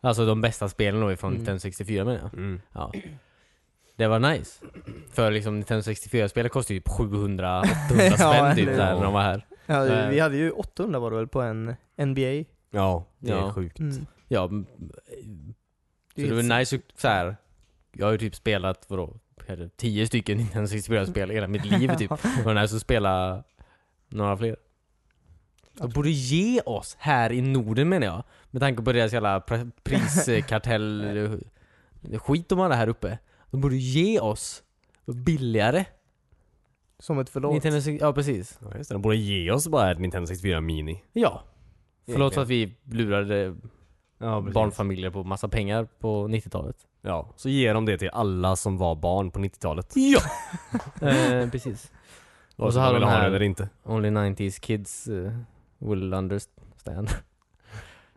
S2: Alltså de bästa spelen då ifrån
S1: Mm.
S2: Nintendo 64 menar jag.
S3: Mm.
S2: Ja. Det var nice. För liksom Nintendo 64-spel kostar ju typ 700-800 spänn
S1: Ja,
S2: typ
S1: eller-
S2: där när de var här.
S1: Ja,
S2: Nej.
S1: vi hade ju 800 var det väl på en NBA?
S3: Ja, det är
S2: Ja.
S3: sjukt.
S1: Mm.
S2: Ja, m-
S1: Det
S2: Så
S1: är
S2: det
S1: helt
S2: var nice att så här. Jag har ju typ spelat vadå, kanske tio stycken Nintendo 64-spel hela mitt liv typ. Det var nice att spela några fler. De borde ge oss här i Norden menar jag. Med tanke på deras jävla pr- priskartell eh, skit de hade här uppe. De borde ge oss billigare.
S1: Som ett förlåt.
S2: Nintendo, 64 ja precis.
S3: Ja, just det. De borde ge oss bara ett Nintendo 64 Mini.
S2: Ja. Förlåt
S3: Egentligen.
S2: att vi lurade
S3: Ja,
S2: barnfamiljer på massa pengar på 90-talet.
S3: Ja, så ger de det till alla som var barn på 90-talet.
S2: Ja! eh, precis.
S3: Och så hade de
S2: här-
S3: det eller inte.
S2: Only 90s kids eh, will understand.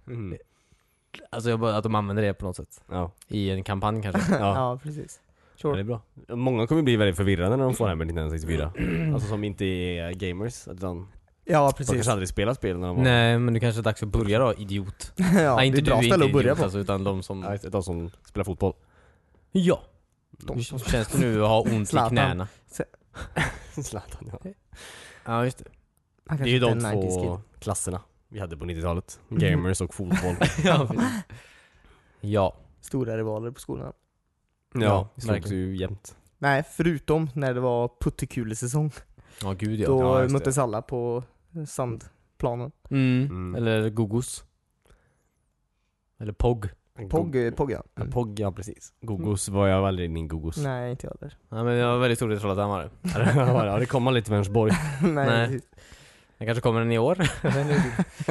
S3: Mm.
S2: alltså jag bara, att de använder det på något sätt.
S3: Ja.
S2: I en kampanj kanske.
S3: Ja.
S1: Ja, precis.
S3: Ja, det är bra. Många kommer bli väldigt förvirrade när de får det här med Nintendo 64. alltså som inte är gamers. Att de,
S1: Ja,
S3: de
S1: precis.
S3: kanske aldrig spelar spel när de var...
S2: Nej men det kanske är dags att börja då, idiot.
S1: ja,
S2: Nej
S1: det är bra ställe att börja
S2: idiot,
S1: på.
S2: Alltså, utan de som...
S3: Ja, just det. De som spelar fotboll.
S2: Ja!
S1: De som-
S2: Hur känns det nu att ha ont i
S1: Zlatan.
S2: knäna?
S3: Zlatan, ja.
S2: Ja just det.
S1: Han
S3: Det är
S1: kanske
S3: ju de
S1: inte är en 90s kid.
S3: två klasserna vi hade på 90-talet. Gamers och fotboll.
S2: ja, precis. ja.
S1: Stora rivaler på skolan.
S3: ja, vi slogs
S2: verkligen.
S3: ju jämt.
S1: Nej, förutom när det var puttekulesäsong.
S2: Ja gud ja.
S1: Då
S3: Ja, just det.
S1: möttes alla på sandplanen.
S2: Mm.
S3: Mm.
S2: Eller Gogos. Eller Pog.
S1: Pog, Pog ja. Mm.
S3: Ja, Pog, ja precis. Gogos var jag aldrig inne i Gogos.
S1: Nej, inte jag heller.
S2: Ja, men jag var väldigt stor i Trollhättan var det.
S3: ja, det kom man lite till Vänersborg.
S1: Nej,
S2: Nej.
S1: precis.
S2: Den kanske kommer den i år.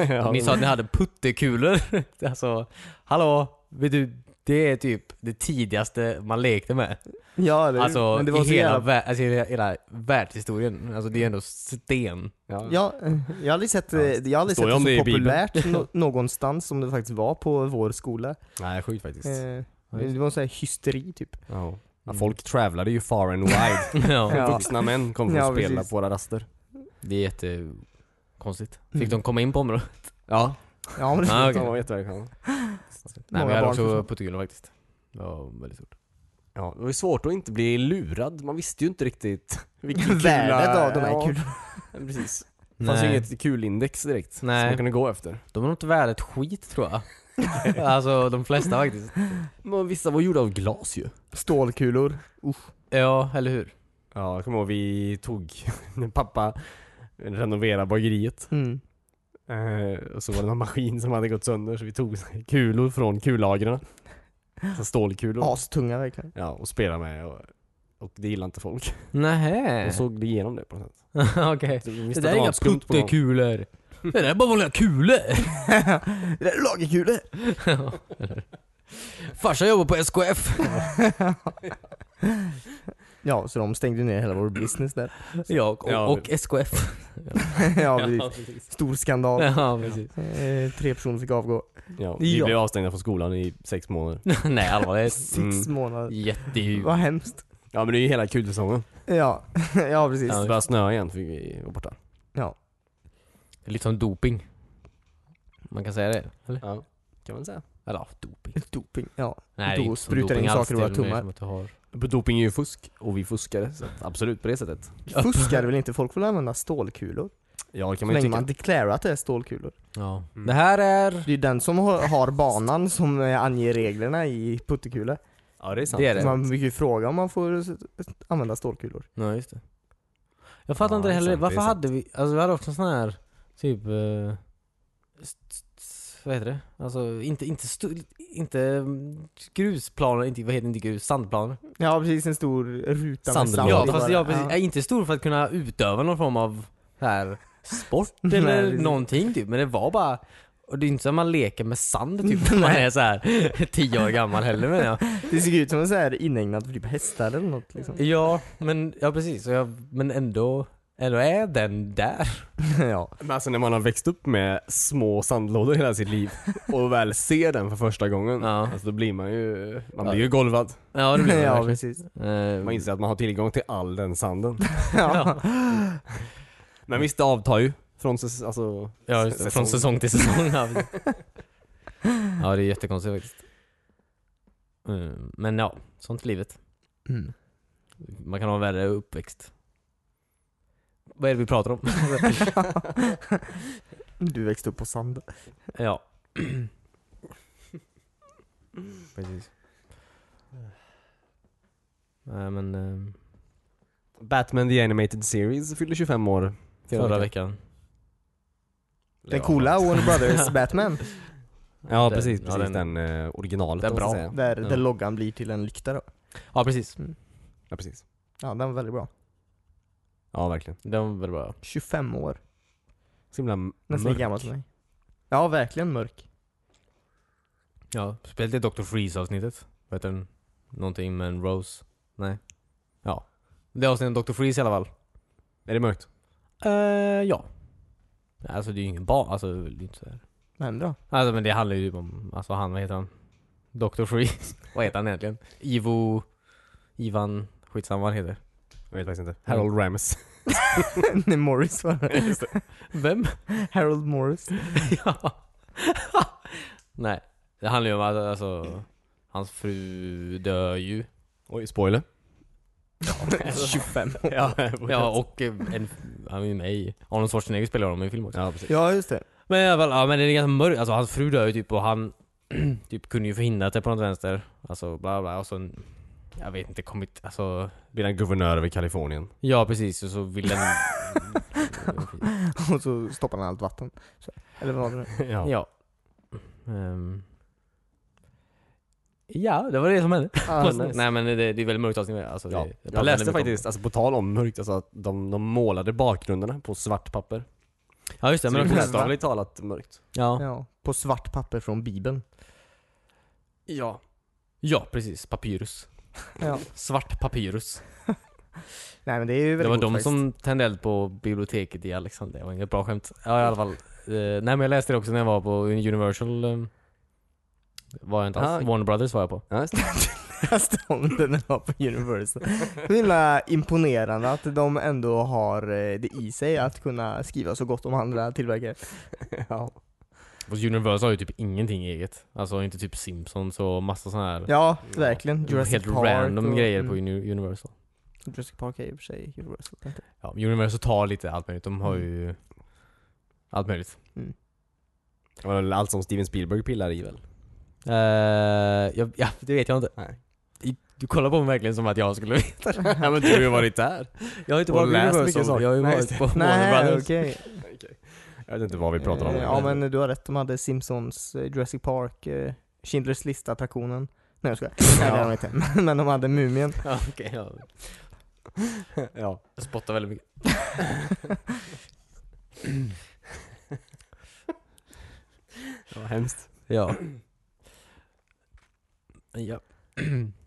S3: ja,
S2: Ni sa att ni hade puttekulor. alltså, hallå? Vet du, det är typ det tidigaste man lekte med.
S1: Ja, eller hur?
S2: Alltså,
S1: Men det var
S2: i
S1: så
S2: hela,
S1: jävla...
S2: vä- alltså, i hela, hela världshistorien. Alltså det är ändå sten.
S3: ja.
S1: Ja, eh, jag har aldrig sett, eh,
S3: Ja,
S1: jag har aldrig
S3: står
S1: sett
S3: ju om det
S1: det
S3: i
S1: så
S3: Bibeln.
S1: populärt nå- någonstans som det faktiskt var på vår skola.
S3: Nej, sjukt faktiskt.
S1: Eh,
S2: Ja,
S1: det var en sån här hysteri typ.
S3: Ja. Ja, folk travlade ju far and wide.
S2: ja.
S1: Ja.
S3: Vuxna män kom för
S1: Ja,
S3: att spela
S1: precis.
S3: på våra raster.
S2: Det är jättekonstigt. Fick
S1: Mm.
S2: de komma in på området?
S3: Ja,
S1: Ja, men
S2: Ah, okej.
S3: de var jättevälkomna.
S2: Nej, men
S1: Många
S2: jag hade
S1: barn
S2: också
S1: försvann.
S2: puttekulor faktiskt. Det var väldigt stort.
S3: Ja, det var ju svårt att inte bli lurad. Man visste ju inte riktigt vilken kula-
S1: Värdet av de här
S3: Ja,
S1: kulorna.
S3: Precis. Det fanns ju
S2: Nej.
S3: inget kulindex direkt som
S2: Nej.
S3: man kunde gå efter.
S2: De var nog inte värda ett skit tror jag. alltså de flesta faktiskt.
S3: Men vissa var gjorda av glas ju.
S1: Stålkulor.
S2: Ja, eller hur?
S3: Ja, jag kommer ihåg vi tog, när pappa renoverade bageriet.
S1: Mm.
S3: Eh, och så var det någon maskin som hade gått sönder så vi tog så här kulor från kullagren. Så Stålkulor.
S1: Astunga verkligen.
S3: Ja, och spelade med. Och, Och det gillade inte folk.
S2: Nähä.
S3: De såg igenom det på något sätt.
S2: Okej.
S3: Så de visste
S2: Det
S3: att
S2: där är
S3: var
S2: inga
S3: en skump på dem.
S2: puttekulor. Det där är bara vanliga kulor.
S1: det där är lagerkulor!
S2: Farsan jobbar på SKF.
S1: Ja, så de stängde ner hela vår business där.
S2: Jag och,
S3: Ja,
S2: och SKF.
S1: ja,
S3: Ja,
S1: precis.
S3: precis.
S1: Stor skandal.
S2: Ja, precis.
S1: Eh, tre personer fick avgå.
S3: Ja, vi
S2: Ja.
S3: blev avstängda från skolan i sex månader.
S2: Nej allvarligt.
S1: Sex
S3: Mm.
S1: månader.
S2: Jätte...
S1: Vad hemskt.
S3: Ja men det är ju hela kulsäsongen.
S1: Ja, ja precis.
S3: Det började snöa igen fick vi vara borta.
S1: Ja.
S2: Lite som doping. Man kan säga det? Eller?
S3: Ja, kan man säga.
S2: Eller ja, doping.
S1: Doping, ja.
S2: Nej,
S1: Då
S2: det är inte som
S1: sprutar
S2: doping
S1: in
S2: alls,
S1: saker i våra
S2: det är väl mer
S1: tummar.
S2: som att du har-
S3: Doping är ju fusk och vi fuskade så att absolut på det sättet.
S1: Fuskar väl inte? Folk vill använda stålkulor.
S3: Ja det kan
S1: Så
S3: man ju
S1: länge
S3: tycka.
S1: man deklarerar att det är stålkulor.
S2: Ja.
S3: Mm.
S2: Det här är...
S1: Det är ju den som har har banan som eh, anger reglerna i puttekulor.
S3: Ja det är sant.
S2: Det är det.
S1: Så Man brukar ju fråga om man får s- använda stålkulor.
S2: Ja, just det. Jag fattar
S3: Ja,
S2: inte det
S3: det är
S2: heller.
S3: sant, det är
S2: Varför
S3: sant.
S2: hade vi... Alltså vi hade också sån här... Typ... eh, st- st- vad heter det? Alltså inte, inte, stu, inte mm, grusplaner, inte, vad heter det? inte grus, sandplaner.
S1: Ja precis, en stor ruta
S3: Sandlåda.
S1: med sand.
S2: Ja
S1: i
S2: fast
S1: bara.
S2: jag precis, jag är inte stor för att kunna utöva någon form av så här, sport
S1: Nej,
S2: eller
S1: precis.
S2: någonting typ. Men det var bara och det är inte så att man leker med sand typ när man är så här 10 år gammal heller men jag.
S1: Det ser ut som en så här inägnad för typ hästar eller något liksom.
S2: Ja men, ja precis. Och Jag, men ändå, ändå är den där.
S1: ja.
S3: Men alltså när man har växt upp med små sandlådor hela sitt liv och väl ser den för första gången.
S2: Ja.
S3: Alltså då blir man ju, man
S2: Ja.
S3: blir ju golvad.
S2: Ja det blir det
S1: ja
S2: verkligen.
S1: precis.
S2: Eh,
S3: Man inser att man har tillgång till all den sanden.
S1: Ja.
S3: Men visst det avtar ju från säs- alltså,
S2: Ja, just det. Från säsong till säsong. ja, precis. ja, det är jättekonstigt faktiskt. Mm, Men ja, sånt är livet.
S1: Mm.
S2: Man kan ha en värre uppväxt. Vad är det vi pratar om?
S1: Du växte upp på sand.
S2: ja. Precis. Nej men, eh,
S3: Batman the Animated Series fyllde 25 år
S2: förra veckan.
S1: Den coola Warner Brothers Batman.
S3: Ja
S2: Den-
S3: precis,
S2: ja,
S3: precis.
S2: den-
S3: den, eh, originalet
S2: den
S3: om man ska
S2: bra.
S3: säga.
S1: Där,
S2: Ja.
S1: där loggan blir till en lykta då.
S2: Ja precis.
S3: Ja precis.
S1: Ja den var väldigt bra.
S3: Ja verkligen.
S2: Den var väl bra.
S1: 25 år.
S3: Så himla
S1: Nästan
S3: mörk.
S1: lika gammal som mig. Ja verkligen mörk.
S2: Ja, speciellt i Dr. Freeze avsnittet. Vad heter den? Någonting med en Rose? Nej. Ja. Det avsnittet om Dr. Freeze i alla fall.
S3: Är det mörkt?
S2: Eh, ja. Nej, Alltså det är ju ingen barn, alltså det är väl inte så här.
S1: Vad händer då?
S2: Alltså men det handlar ju om, alltså han, vad heter han? Dr. Freeze. vad heter han egentligen? Ivo... Ivan... Skitsamma vad han heter.
S3: Jag vet faktiskt inte. Harold Ramis.
S1: Nej Morris var det.
S2: Vem?
S1: Harold Morris.
S2: ja. Nej. Det handlar ju om att, alltså, hans fru dör ju.
S3: Oj, spoiler.
S1: 25 år.
S3: ja,
S2: Ja och eh, en, han är ju med i, Arnold Schwarzenegger spelar honom i en film också.
S3: ja precis.
S1: Ja just det.
S2: Men i alla fall, ja men det är ganska mörkt, alltså hans fru dör ju typ och han typ kunde ju förhindrat det på något vänster. Alltså bla bla och så en- jag vet inte, kommit, alltså
S3: Blir han guvernör över Kalifornien.
S2: Ja precis, och så vill den...
S1: Och så stoppar han allt vatten. Så, eller vad var det nu?
S3: ja.
S2: ja. Ehm. ja, det var det som hände.
S1: Ah, nice.
S2: Nej men det, det är väldigt mörkt avsnitt. Alltså, det-
S3: Ja,
S2: det
S3: jag
S2: pratar
S3: läste
S2: mycket om-
S3: faktiskt, alltså på tal om mörkt, alltså att de, de målade bakgrunderna på svart papper.
S2: Ja just det,
S3: Så
S2: men
S3: det är
S1: också-
S3: bokstavligt talat mörkt.
S2: ja.
S1: Ja, på svart papper från bibeln.
S3: Ja.
S2: ja precis, papyrus.
S1: Ja.
S2: Svart papyrus.
S1: Nej men det är ju väldigt
S2: Det var
S1: coolt
S2: de
S1: faktiskt.
S2: som tände eld på biblioteket i Alexander. Det var inget bra skämt. Ja i alla fall. Eh, nej men jag läste det också när jag var på Universal. eh, var jag inte alls.
S3: Ah.
S2: Warner Brothers var jag på.
S3: just det.
S1: läste om det när jag var på Universal. Så himla imponerande att de ändå har eh, det i sig att kunna skriva så gott om andra tillverkare.
S3: ja.
S2: Fast Universal har ju typ ingenting eget. Alltså inte typ Simpsons och massa sådana här
S1: Ja, verkligen. Jurassic
S2: helt
S1: Park
S2: random
S1: och-
S2: grejer på
S1: mm.
S2: Uni- Universal.
S1: Jurassic Park är i och för sig Universal. tänkte jag.
S2: Ja, Universal tar lite allt möjligt. De har
S1: Mm.
S2: ju allt möjligt.
S3: Det var väl allt som Steven Spielberg pillar i väl?
S2: Eh, jag, ja, det vet jag inte.
S3: Nej.
S2: I- Du kollar på mig verkligen som att jag skulle veta.
S3: ja men du har ju varit där.
S2: Jag har inte
S3: Och
S2: varit på
S3: läst
S2: Universal,
S3: mycket saker.
S2: jag har ju
S3: Nej,
S2: varit på Warner
S1: Nej,
S2: Brothers.
S1: okej.
S3: Jag vet inte vad vi pratar om.
S1: Eh, Ja men du har rätt, de hade Simpsons, eh, Jurassic Park, eh, Schindler's lista-attraktionen. Nej jag skojar. Nej det hade
S2: Ja.
S1: de inte. Men de hade Mumien.
S2: Ja, okej. ja.
S3: ja.
S2: Jag spottar väldigt mycket.
S3: Det var hemskt.
S2: Ja. ja.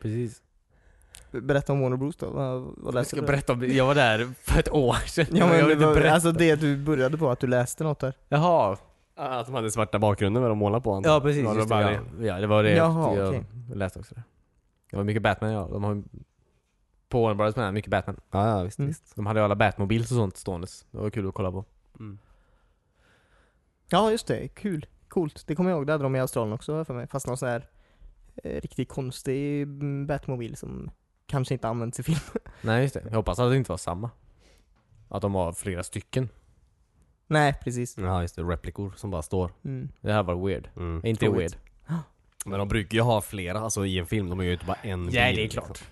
S2: Precis.
S1: Berätta om Warner Bros då. Vad, vad
S2: Jag
S1: läste
S2: ska
S1: du?
S2: berätta om det. Jag var där för ett år sedan.
S1: Ja, men det
S2: jag vill inte
S1: var,
S2: berätta.
S1: alltså det du började på, att du läste något där.
S2: Jaha.
S3: Att de hade svarta bakgrunder med de målade på antar
S2: Ja
S3: jag.
S2: precis.
S3: Var det
S2: Just det,
S3: bara
S2: ja. ja, det var det
S1: Jaha,
S2: jag,
S1: okej.
S2: jag läste också. Det. det var mycket Batman ja. De har ju på Warner Brothers med mycket Batman.
S3: Ja, ja visst.
S1: Mm.
S3: visst.
S2: De hade ju alla Batmobils och sånt ståendes. Det var kul att kolla på.
S3: Mm.
S1: Ja, just det. Kul. Coolt. Det kommer jag ihåg. Det hade de i Australien också har jag för mig. Fast någon sån här eh, riktigt konstig mm, Batmobil som kanske inte används i film.
S2: Nej just det. Jag hoppas att det inte var samma. Att de var flera stycken.
S1: Nej, precis.
S3: Ja just det, replikor som bara står.
S1: Mm.
S2: Det här var weird.
S3: Mm.
S2: Inte
S1: Troligt.
S2: weird.
S3: Men de brukar ju ha flera, alltså i en film. De har ju inte bara en
S2: Ja,
S3: bil,
S2: det är
S3: liksom.
S2: klart.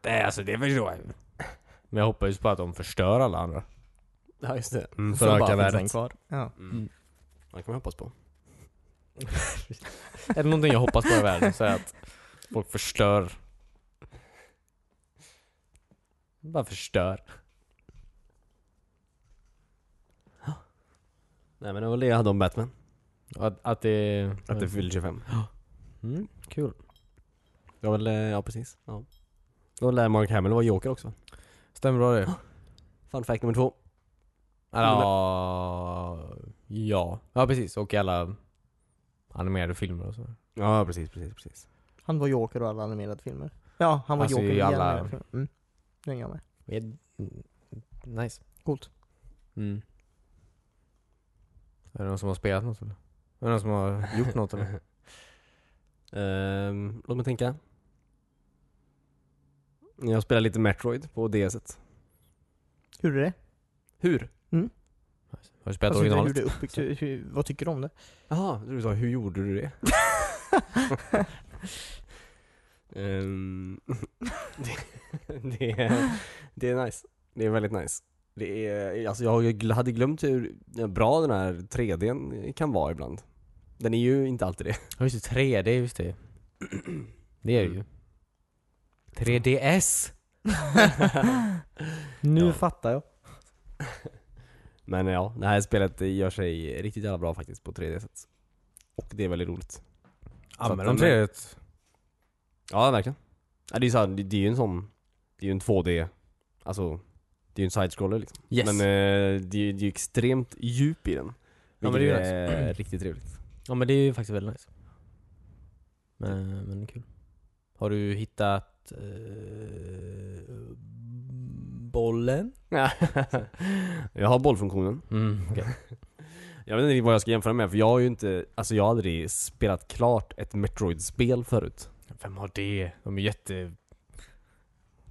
S2: Det, är- alltså, det förstår jag ju. Men jag hoppas på att de förstör alla andra.
S3: Ja just det. Mm,
S1: Så
S3: för
S1: bara
S3: att öka
S1: finns den
S3: värdet.
S1: Kvar. Ja.
S3: Mm. Det kan man hoppas på.
S2: Är det någonting jag hoppas på i världen så är det att folk förstör. Bara förstör.
S3: Nej men det var det jag hade om Batman.
S2: Att, att det...
S3: Att det fyllde 25.
S2: mm, kul.
S3: Ja, väl, eh, ja precis. Ja. Då lär Mark Hamill vara Joker också.
S2: Stämmer bra det.
S3: Fun fact nummer två.
S2: Ja, ja. Ja precis, och i alla animerade filmer och så.
S3: Ja precis, precis, precis.
S1: Han var Joker och alla animerade filmer. Ja, han var
S2: Alltså,
S1: Joker
S2: i
S1: i alla
S2: alla-
S1: animerade filmer. Mm. Den är jag med.
S2: Mm, Nice.
S1: Coolt.
S2: Mm. Är det någon som har spelat något eller? Är det någon som har gjort något eller?
S3: Ehm, låt mig tänka. Jag spelar lite Metroid på DS.
S1: Hur är det?
S3: Hur?
S2: Har du spelat
S1: Alltså, hur, hur
S2: originalet?
S1: det är uppbyggt, hur, hur, vad tycker du om det?
S3: Jaha, du sa hur gjorde du det? Ehm, det, det, är, det är nice. Det är väldigt nice. Det är, alltså jag har ju gl- hade glömt hur bra den här 3Dn kan vara ibland. Den är ju inte alltid det.
S2: Ja just det, 3D, just det. Det är det ju. 3DS! nu
S3: Ja.
S2: fattar jag.
S3: Men ja, det här spelet det gör sig riktigt jävla bra faktiskt på 3D-sätt. Och det är väldigt roligt.
S2: Använder de
S3: de är-
S2: 3D? -et?
S3: Ja, verkligen. Ja, det, är så här, det, det är ju en sån, det är ju en 2D, alltså det är ju en side-scroller liksom.
S2: Yes.
S3: Men eh, det är ju det är ju extremt djup i den.
S2: Ja, men
S3: Vilket
S2: det är ju
S3: är
S2: nice.
S3: riktigt trevligt.
S2: Ja men det är ju faktiskt väldigt nice. Men, eh, men det är kul. Har du hittat eh, bollen?
S3: jag har bollfunktionen.
S2: Mm, okej.
S3: Jag vet inte riktigt vad jag ska jämföra med för jag har ju inte, alltså jag har aldrig spelat klart ett Metroid-spel förut.
S2: Vem har det? De är jätte...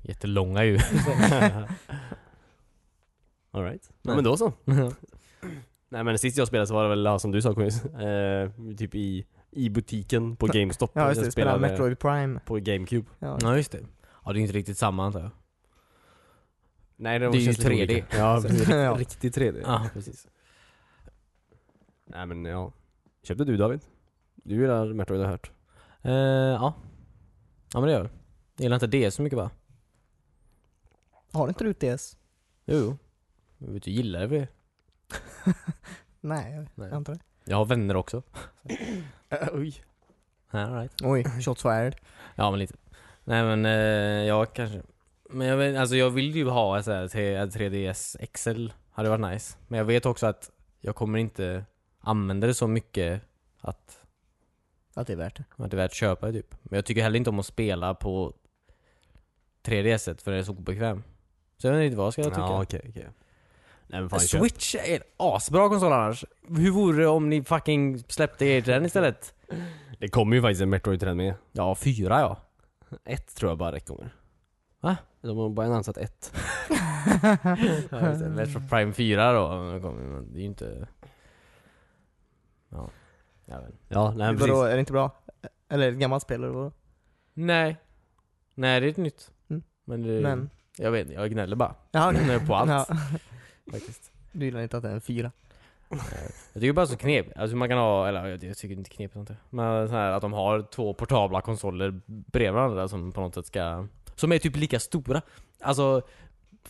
S2: Jättelånga ju.
S3: Alright. Ja,
S2: Nej.
S3: men då så. Nej men sist jag spelade så var det väl ja, som du sa Cornelis, eh, typ i, i butiken på GameStop.
S1: Ja, just det.
S3: Jag
S1: Spela Metroid Prime.
S3: på GameCube.
S1: Ja.
S2: ja just det. Ja det är inte riktigt samma antar jag.
S3: Nej
S2: Det är ju
S3: känns lite
S2: 3D.
S3: olika. Ja,
S1: Så-
S3: precis.
S1: Ja.
S3: Riktigt 3D.
S2: Ja precis.
S3: Nej men ja. Köpte du David? Du gillar Metroid har jag hört.
S2: Eh, ja. Ja men det gör jag. Jag gillar inte det så mycket va?
S1: Har inte du DS?
S2: Jo, Jo. Jag vet, du gillar det för det.
S1: Nej,
S2: Nej.
S1: jag antar det.
S2: Jag har vänner också.
S3: oj.
S2: All right.
S1: Oj, shots fired.
S2: Ja men lite. Nej men eh, ja kanske. Men jag, vet, alltså, jag vill ju ha ett så här T- 3DS XL. Hade varit nice. Men jag vet också att jag kommer inte använda det så mycket att,
S1: Att det är värt det.
S2: att det är värt att köpa det typ. Men jag tycker heller inte om att spela på 3DS et, för det är så obekväm. Så jag vet inte vad ska jag tycka.
S3: Ja okej okej. Nej men fan köp.
S2: Switch är en asbra konsol annars. Hur vore det om ni fucking släppte er till den istället?
S3: Det kommer ju faktiskt en Metroid till den med.
S2: Ja, fyra ja.
S3: Ett tror jag bara räcker kommer.
S2: Va?
S3: De har bara annonsat ett.
S2: Ja, just det. Metro Prime 4 då, det kommer ju- men det är ju inte... Ja, jag vet inte.
S3: Ja nej men
S1: Vadå,
S3: precis.
S1: är det inte bra? Eller är det ett gammalt spel eller vadå?
S2: Nej. Nej, det är ett nytt.
S1: Mm.
S2: Men, det,
S1: Men...
S2: jag vet inte, jag gnäller bara.
S1: Ja,
S2: Jag
S1: okej.
S2: gnäller på allt.
S1: Ja,
S2: Faktiskt.
S1: du gillar inte att det är en fyra?
S2: Jag tycker bara så knep, alltså man kan ha, eller jag, jag tycker inte knep sånt där. Men så här, att de har två portabla konsoler bredvid varandra som på något sätt ska, som är typ lika stora. Alltså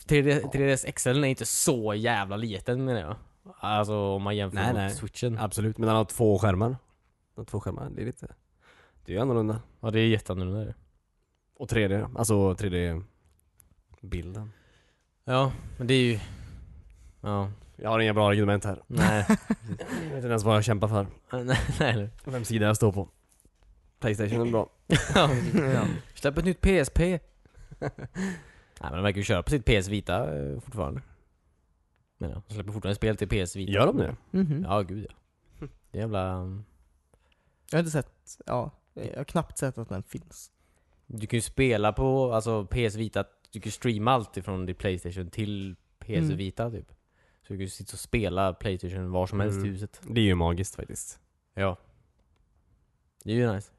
S2: 3D, 3DS XL är inte så jävla liten menar jag. Alltså om man jämför
S3: Nej,
S2: mot
S3: nej.
S2: switchen. Ja.
S3: Absolut, men han har två skärmar. Han har två skärmar, det är lite... Det är ju annorlunda.
S2: det är jätteannorlunda det.
S3: Och 3D, alltså 3D-bilden.
S2: Ja, men det är ju... Ja,
S3: Jag har inga bra argument här.
S2: nej.
S3: Jag vet inte ens vad jag kämpar för.
S2: nej, nej. nej.
S3: Vem sida jag står på. Playstation är bra.
S2: Ja. Släpp ett nytt PSP. nej men de verkar ju köra på sitt PS Vita eh, fortfarande. Men ja, de släpper fortfarande spel till PS Vita. Mm.
S3: Gör de det?
S1: Mhm.
S2: Ja, gud ja. Det är jävla... um,
S1: Jag har inte sett, ja, jag har knappt sett att den finns.
S2: Du kan ju spela på, alltså PS Vita, du kan ju streama allt ifrån din Playstation till PS
S1: Mm.
S2: Vita typ. Så du kan ju sitta och spela Playstation var som helst
S3: Mm.
S2: i huset.
S3: Det är ju magiskt faktiskt.
S2: Ja. Det är ju nice.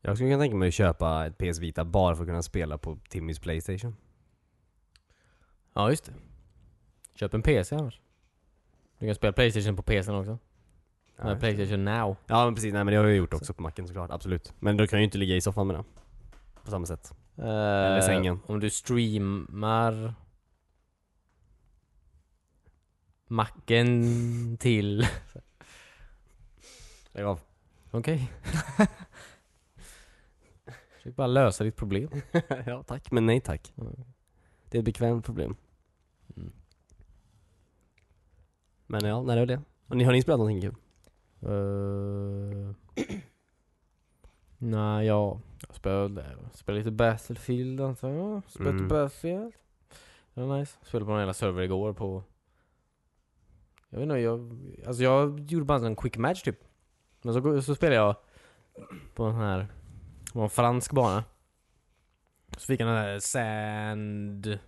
S3: Jag skulle kunna tänka mig att köpa ett PS Vita bara för att kunna spela på Timmys Playstation.
S2: Ja, just det. Köp en PC annars. Du kan spela Playstation på PCn också.
S3: Ja,
S2: Nej, Playstation Now.
S3: ja men precis, nej men det har jag gjort också på macken såklart, absolut. Men då kan jag ju inte ligga i soffan med den. På samma sätt.
S2: Eller
S3: sängen.
S2: Eh, Om du streamar... Macken till...
S3: Lägg av.
S2: Okej. Försök bara lösa ditt problem.
S3: ja tack, men nej tack.
S2: Mm.
S3: Det är ett bekvämt problem.
S2: Mm.
S3: Men ja, nej det var det. Och ni, har ni spelat någonting kul?
S2: Uh, nej, jag, jag spelade, spelade lite Battlefield antar jag. Spelade
S3: Mm.
S2: lite Battlefield. Det var nice. Spelade på någon jävla server igår på... Jag vet inte, jag, alltså jag gjorde bara en sån quick match typ. Men så, så spelade jag på en sån här, på en fransk bana. Så fick jag den här Sand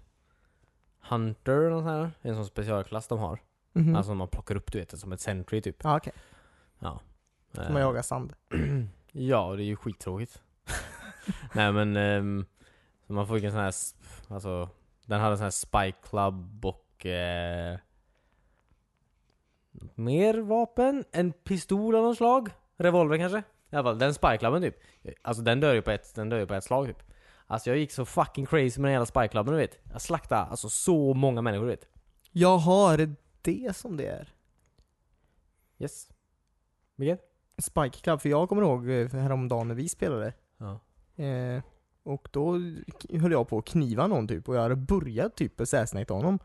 S2: Hunter, eller något sånt här. en sån specialklass de har.
S1: Mhm.
S2: Alltså man plockar upp du vet, som ett Sentry typ.
S1: ja, okej.
S2: Ja.
S1: Får man jaga sand.
S2: Ja, det är ju skittråkigt. Nej men, ehm, så man fick en sån här, s- alltså, den hade en sån här Spike Club och eh, mer vapen? En pistol av något slag? Revolver kanske? I alla fall, den Spike Clubben typ. Alltså den dör ju på ett, den dör ju på ett slag typ. Alltså jag gick så fucking crazy med den jävla Spike Clubben du vet. Jag slaktade alltså så många människor du vet.
S1: Jaha, är det det som det är?
S2: Yes. Vilken?
S1: Spike Club, för jag kommer ihåg eh, häromdagen när vi spelade.
S2: Ja.
S1: Eh, och då k- höll jag på att kniva någon typ och jag hade börjat typ assassinate honom.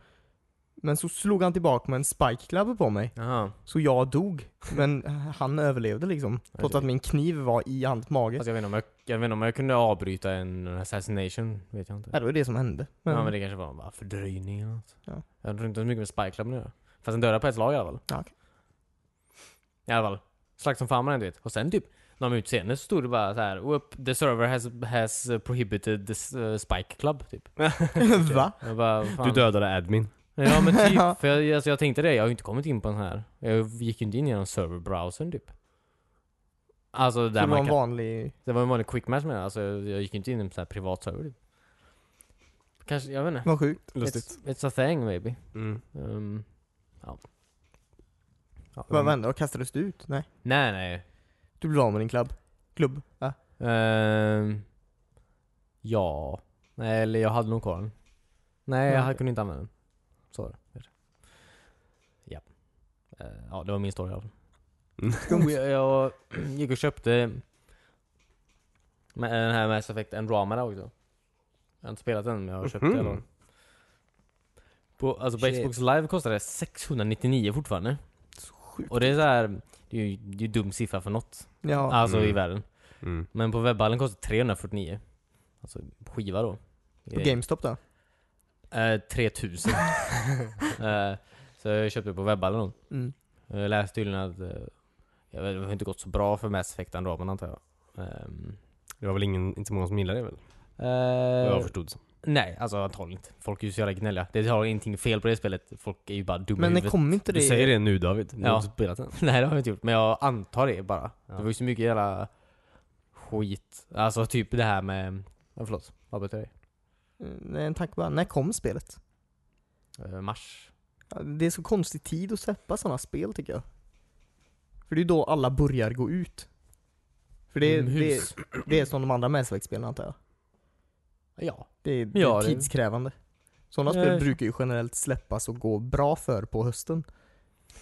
S1: Men så slog han tillbaka med en spike club på mig,
S2: Jaha.
S1: så jag dog. Men han överlevde liksom. Trots
S2: Okej.
S1: att min kniv var i hans mage.
S2: Alltså jag, vet inte om jag, jag vet inte om jag kunde avbryta en assassination, vet jag inte.
S1: Ja, det var det som hände. Men,
S2: Ja men det kanske var bara fördröjning eller något.
S1: Ja.
S2: Jag tror inte så mycket med Spike Club nu Fast den dödade på ett slag i alla fall.
S1: Ja, okej.
S2: I alla fall. Slags som fan med den du vet. Och sen typ, några minuter senare så stod det bara så här Whoop, the server has, has prohibited this eh, Spike Club typ.
S1: Va?
S2: Jag bara, "Vad fan?"
S3: Du dödade admin.
S2: Ja men typ,
S1: Ja.
S2: för jag, alltså, jag tänkte det, jag har ju inte kommit in på den här. Jag gick ju inte in genom serverbrowsern typ. Alltså
S1: Det
S2: där
S1: var
S2: man
S1: en
S2: kan
S1: vanlig...
S2: det var en vanlig quick match med det. alltså jag jag gick inte in i en sån här privat server typ. Kanske, jag vet inte.
S1: Vad sjukt.
S3: Lustigt.
S2: It's, it's a thing maybe.
S3: Mm.
S2: Um, ja. ja
S1: Vad
S2: men-
S1: hände? Och kastades du ut? Nej.
S2: Nej nej.
S1: Du blev av med din klubb. Klubb? Ja.
S2: Ehm, ja. Nej eller jag hade nog kvar den. Nej jag
S1: Ja, okej.
S2: kunde inte använda den. Så var det. Ja. Eh, ja det var min story i alla fall.
S1: Mm.
S2: Jo, jag, jag gick och köpte med den här Mass Effect Andromeda också. Jag har inte spelat den men jag har köpt
S3: Mhm.
S2: den. då. På, alltså på
S3: Shit.
S2: Xbox live kostar det 699 fortfarande.
S1: Så sjukt.
S2: Och det är så här, det är ju det är ju dum siffra för något.
S1: Ja.
S2: Alltså i
S3: Mm.
S2: världen.
S3: Mm.
S2: Men på webbhallen kostar det 349. Alltså skiva då.
S1: På GameStop då?
S2: Eh, 3000. eh, så jag köpte det på webbhallen då.
S1: Mm.
S2: Jag läste tydligen att eh, jag vet, det har inte gått så bra för Mass Effect Andromeda antar jag. Ehm,
S3: Det var väl ingen, inte så många som gillade det väl?
S2: eh,
S3: Vad jag förstod så.
S2: nej, alltså antagligen inte. Folk är ju så jävla gnälliga. Det har ingenting fel på det spelet. Folk är ju bara dumma i
S1: Men det
S2: huvudet.
S1: kom inte det...
S3: Du säger det nu David, du
S2: Ja.
S3: har inte spelat den.
S2: Nej det har jag inte gjort, men jag antar det bara.
S3: Ja.
S2: Det var ju så mycket jävla skit. Alltså typ det här med... Ja, förlåt, vad betyder det?
S1: Mm, Nej, en tanke bara. När kom spelet?
S2: Eh, mars?
S1: Ja, Det är så konstig tid att släppa sådana spel tycker jag. För det är ju då alla börjar gå ut. För det är,
S2: Mm,
S1: det är,
S2: Inomhus.
S1: det är som de andra Mass Effect-spelen antar jag.
S2: Ja.
S1: Det är, det
S2: Ja,
S1: är
S2: det-
S1: tidskrävande. Sådana
S2: Ja,
S1: spel
S2: jag-
S1: brukar ju generellt släppas och gå bra för på hösten.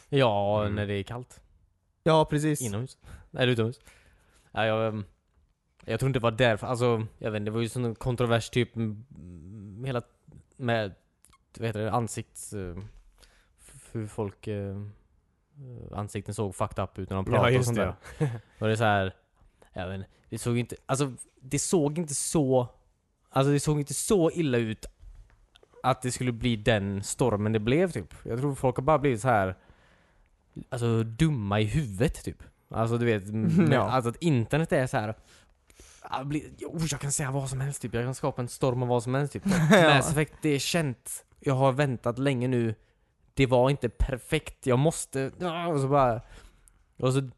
S2: Ja,
S3: Mm.
S2: när det är kallt.
S1: Ja, precis.
S2: Inomhus? Nej, utomhus. Ja, jag, ehm, jag tror inte det var därför. Alltså, jag vet inte, det var ju sån en kontrovers typ mm, hela med, vad heter det, ansikts... eh, f- Hur folk... eh, eh, Ansikten såg fucked up ut när de pratade och sånt där. Och det är så här, jag vet inte, det såg inte, alltså det såg inte så, alltså det såg inte så illa ut att det skulle bli den stormen det blev typ. Jag tror folk har bara blivit så här alltså dumma i huvudet typ. Alltså du vet, med,
S1: Ja.
S2: alltså att internet är så här. ah, bli- Oh, jag kan säga vad som helst typ, jag kan skapa en storm av vad som helst typ. Mass Effect, det är känt. Jag har väntat länge nu. Det var inte perfekt. Jag måste... Ah, Och så bara... Och så...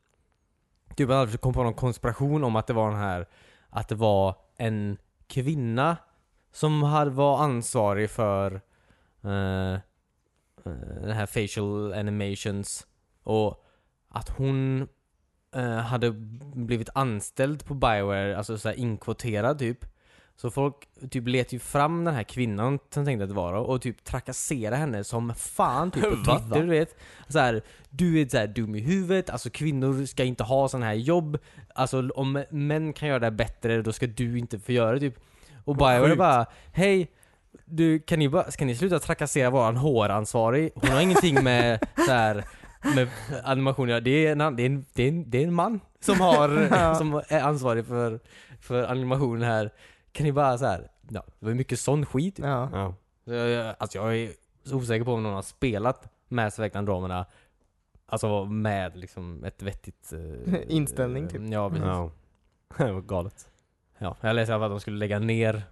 S2: Typ att jag kom på någon konspiration om att det var den här... Att det var en kvinna som hade, var ansvarig för... eh, eh, den här facial animations. Och att hon eh, hade blivit anställd på Bioware, alltså så här inkvoterad typ. Så folk typ let ju fram den här kvinnan som tänkte att det var då, och typ trakassera henne som fan typ på
S3: Va?
S2: Twitter du vet. Så här, du är så här dum i huvudet, alltså kvinnor ska inte ha sådana här jobb. Alltså om män kan göra det här bättre då ska du inte få göra det typ. Och Bioware
S1: sjukt.
S2: bara, hej du, kan ni, bara, ska ni sluta trakassera våran HR-ansvarig? Hon har ingenting med så här, med animation att göra. det är en, an- det är en, det är en, det är en man som, har, som är ansvarig för, för animation här. Kan ni bara så här, ja, det var mycket sån skit.
S1: Ja.
S3: Ja.
S2: Så jag- jag- Alltså jag är så osäker på om någon har spelat Mass Effect Andromeda Alltså med liksom ett vettigt... eh,
S1: Inställning, typ.
S2: Ja, precis.
S3: ja. Det var galet.
S2: Ja, jag läste i alla fall att de skulle lägga ner